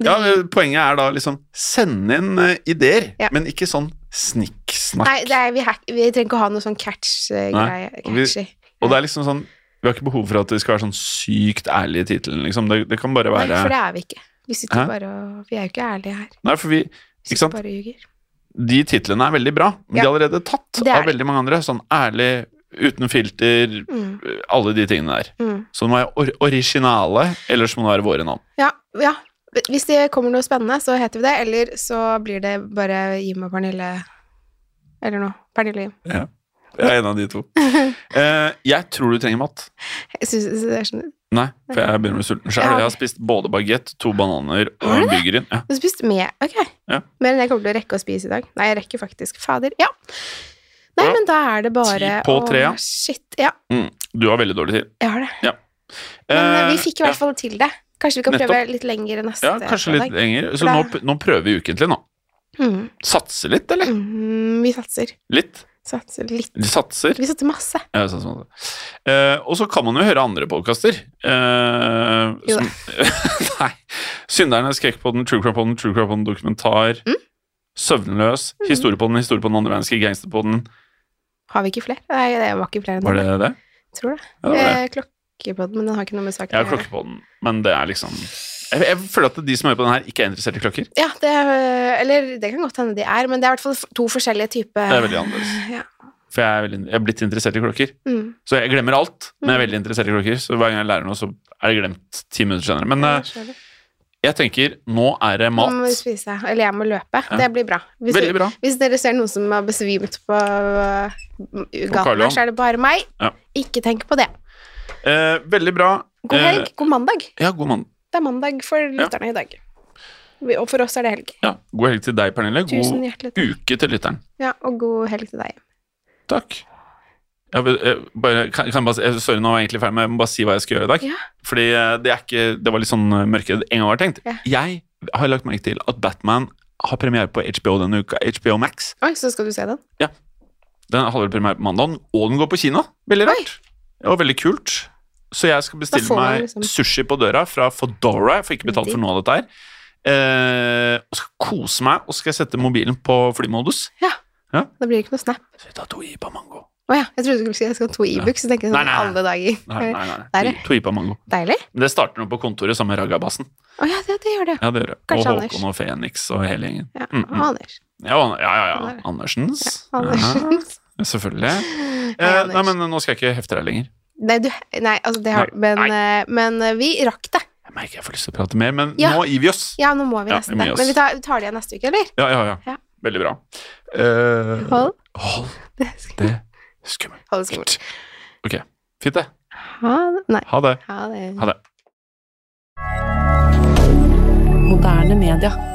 [SPEAKER 2] Ja, eh, poenget er da liksom send inn eh, ideer,
[SPEAKER 1] Ja.
[SPEAKER 2] men ikke sånn snikksnakk.
[SPEAKER 1] Nei, det er, vi, hack, vi trenger ikke å ha noe sånn catch-greie.
[SPEAKER 2] og vi-
[SPEAKER 1] Catchy.
[SPEAKER 2] Og det er liksom sånn Vi har ikke behov for at det skal være sånn sykt ærlig i tittelen, liksom. Det, det kan bare
[SPEAKER 1] Nei,
[SPEAKER 2] være
[SPEAKER 1] for det er vi ikke. Vi sitter
[SPEAKER 2] Hæ?
[SPEAKER 1] bare og Vi er jo ikke ærlige her.
[SPEAKER 2] Nei, for vi
[SPEAKER 1] Vi
[SPEAKER 2] Ikke
[SPEAKER 1] sitter
[SPEAKER 2] sant?
[SPEAKER 1] bare og ljuger.
[SPEAKER 2] De titlene er veldig bra, men de er
[SPEAKER 1] Ja.
[SPEAKER 2] allerede tatt
[SPEAKER 1] Det er
[SPEAKER 2] av
[SPEAKER 1] de.
[SPEAKER 2] veldig mange andre. Sånn ærlig, uten filter, eh,
[SPEAKER 1] Mm,
[SPEAKER 2] alle de tingene der.
[SPEAKER 1] mm.
[SPEAKER 2] Så det må være or originale, ellers må det være våre navn.
[SPEAKER 1] Ja, ja. Hvis det kommer noe spennende, så heter vi det. Eller så blir det bare Jim og Pernille Eller noe. Pernille og Jim.
[SPEAKER 2] Jeg er en av de to. Eh, jeg tror du trenger mat.
[SPEAKER 1] Jeg synes, sånn jeg skjønner.
[SPEAKER 2] Nei, for jeg begynner å bli sulten sjøl.
[SPEAKER 1] Ja.
[SPEAKER 2] Jeg har spist både bagett, to bananer og
[SPEAKER 1] Har du
[SPEAKER 2] en burger. Ja.
[SPEAKER 1] Du spiste mer? Ok.
[SPEAKER 2] Ja.
[SPEAKER 1] Mer enn jeg kommer til å rekke å spise i dag. Nei, jeg rekker faktisk. Fader. Ja. Nei,
[SPEAKER 2] Ja.
[SPEAKER 1] men da er det bare
[SPEAKER 2] Ti på
[SPEAKER 1] å-
[SPEAKER 2] tre, ja.
[SPEAKER 1] Shit. Ja,
[SPEAKER 2] Mm, du har veldig dårlig tid.
[SPEAKER 1] jeg har det. Men
[SPEAKER 2] Eh,
[SPEAKER 1] eh, vi fikk i hvert fall til det. Kanskje vi kan
[SPEAKER 2] Nettopp.
[SPEAKER 1] prøve litt lenger neste
[SPEAKER 2] ja, ja, kanskje litt
[SPEAKER 1] fredag.
[SPEAKER 2] lenger. Så
[SPEAKER 1] For
[SPEAKER 2] nå,
[SPEAKER 1] det-
[SPEAKER 2] p- nå prøver vi ukentlig, nå.
[SPEAKER 1] Mm.
[SPEAKER 2] Satse litt, eller?
[SPEAKER 1] Mm, vi satser.
[SPEAKER 2] Litt.
[SPEAKER 1] Satser litt.
[SPEAKER 2] De satser.
[SPEAKER 1] Vi satser masse.
[SPEAKER 2] Ja, sånn som det. Eh, og så kan man jo høre andre podkaster.
[SPEAKER 1] Jo da.
[SPEAKER 2] nei. Synderne, Skrekkpodden, True Crime Podden, True Crime Podden dokumentar.
[SPEAKER 1] Mm.
[SPEAKER 2] Søvnløs, Historiepodden, Historiepodden andre verdenskrig, Gangsterpodden.
[SPEAKER 1] Har vi ikke flere? Nei, det var ikke flere enn
[SPEAKER 2] Var det det?
[SPEAKER 1] Tror det.
[SPEAKER 2] Ja, det var det.
[SPEAKER 1] Eh, Klokkepodden, men den har ikke noe med saken
[SPEAKER 2] Jeg
[SPEAKER 1] å
[SPEAKER 2] har
[SPEAKER 1] gjøre.
[SPEAKER 2] Klokkepodden, men det er liksom jeg, jeg føler at de som hører på den her, ikke er interessert i klokker.
[SPEAKER 1] Ja, eh, det, eller det kan godt hende de er, men det er i hvert fall to forskjellige typer
[SPEAKER 2] Det er veldig annerledes.
[SPEAKER 1] Ja.
[SPEAKER 2] For jeg er, veldig, jeg er blitt interessert i klokker.
[SPEAKER 1] Mm.
[SPEAKER 2] Så jeg glemmer alt, men jeg er veldig interessert i klokker. Så hver gang jeg lærer noe, så er det glemt ti minutter senere. Men
[SPEAKER 1] Ja,
[SPEAKER 2] eh,
[SPEAKER 1] jeg skjønner.
[SPEAKER 2] jeg tenker, nå er det
[SPEAKER 1] Nå må vi
[SPEAKER 2] mat.
[SPEAKER 1] spise. Eller jeg må løpe.
[SPEAKER 2] Ja.
[SPEAKER 1] Det blir bra. Hvis,
[SPEAKER 2] Veldig bra.
[SPEAKER 1] hvis dere ser noen som har besvimt på uh,
[SPEAKER 2] Karl
[SPEAKER 1] gaten
[SPEAKER 2] Johan.
[SPEAKER 1] her, så er det bare meg.
[SPEAKER 2] Ja.
[SPEAKER 1] Ikke tenk på det.
[SPEAKER 2] Eh, veldig bra.
[SPEAKER 1] God
[SPEAKER 2] Eh,
[SPEAKER 1] helg. God mandag.
[SPEAKER 2] ja, god mann.
[SPEAKER 1] Det er mandag for lytterne i dag. Vi- Og for oss er det helg.
[SPEAKER 2] Ja, god helg til deg, Pernille.
[SPEAKER 1] Tusen
[SPEAKER 2] God
[SPEAKER 1] hjertelig takk.
[SPEAKER 2] uke til lytteren.
[SPEAKER 1] Ja, og god helg til deg.
[SPEAKER 2] Takk. Jeg, vil- jeg, bare, kan, kan jeg bare, si- jeg- sorry, nå var jeg egentlig ferdig, men jeg må bare si hva jeg skal gjøre i dag.
[SPEAKER 1] Ja.
[SPEAKER 2] Fordi eh, det, er ikke, det var litt sånn eh, mørkere enn jeg hadde tenkt.
[SPEAKER 1] Ja.
[SPEAKER 2] Jeg har lagt merke til at Batman har premiere på HBO denne uka. HBO Max.
[SPEAKER 1] Oi, så skal du se den.
[SPEAKER 2] Den hadde vel premiere på mandag, og den går på kino. Veldig
[SPEAKER 1] Oi.
[SPEAKER 2] rart. Og veldig kult. Så jeg skal
[SPEAKER 1] Da
[SPEAKER 2] bestille
[SPEAKER 1] får man
[SPEAKER 2] meg
[SPEAKER 1] liksom-
[SPEAKER 2] sushi på døra fra Fodora. Jeg får ikke betalt for noe av dette her. Eh, og skal kose meg, og skal sette mobilen på flymodus.
[SPEAKER 1] Da blir det ikke noe snap.
[SPEAKER 2] Så jeg tar to ipa mango.
[SPEAKER 1] Å ja, jeg trodde du skulle si jeg skal ha to e-books. Så tenker jeg
[SPEAKER 2] Nei,
[SPEAKER 1] sånn
[SPEAKER 2] nei, nei.
[SPEAKER 1] alle dager.
[SPEAKER 2] Nei, nei, nei.
[SPEAKER 1] Der, ja.
[SPEAKER 2] To- To ipa mango.
[SPEAKER 1] Deilig.
[SPEAKER 2] Men Det starter nå på kontoret sammen med Ragabassen.
[SPEAKER 1] Å ja, det, det gjør det.
[SPEAKER 2] Ja, det gjør det. Og
[SPEAKER 1] Kanskje Anders.
[SPEAKER 2] Håkon og Fenix og hele gjengen.
[SPEAKER 1] Ja,
[SPEAKER 2] Mm,
[SPEAKER 1] og
[SPEAKER 2] mm.
[SPEAKER 1] Anders.
[SPEAKER 2] Ja, ja, ja. ja.
[SPEAKER 1] Eller-
[SPEAKER 2] Andersens.
[SPEAKER 1] Anders.
[SPEAKER 2] Ja, selvfølgelig.
[SPEAKER 1] Hei,
[SPEAKER 2] Eh,
[SPEAKER 1] Anders.
[SPEAKER 2] nei, men nå skal jeg ikke hefte deg lenger.
[SPEAKER 1] Nei, du, nei, altså det har du. Men, eh, men eh, vi rakk det.
[SPEAKER 2] Jeg merker jeg får lyst til å prate mer, men
[SPEAKER 1] Ja.
[SPEAKER 2] nå gir vi oss.
[SPEAKER 1] Ja, nå må vi
[SPEAKER 2] Ja,
[SPEAKER 1] nesten
[SPEAKER 2] vi må
[SPEAKER 1] det.
[SPEAKER 2] gi oss.
[SPEAKER 1] Men vi tar, vi tar det igjen neste uke, eller?
[SPEAKER 2] Ja, ja, ja.
[SPEAKER 1] Ja.
[SPEAKER 2] Veldig bra. Eh,
[SPEAKER 1] Hold
[SPEAKER 2] hold
[SPEAKER 1] det sk-
[SPEAKER 2] det skummelt.
[SPEAKER 1] hold det skummelt.
[SPEAKER 2] Ok, fint det.
[SPEAKER 1] Ha det. Nei.
[SPEAKER 2] Ha det.
[SPEAKER 1] Ha det.
[SPEAKER 3] moderne media.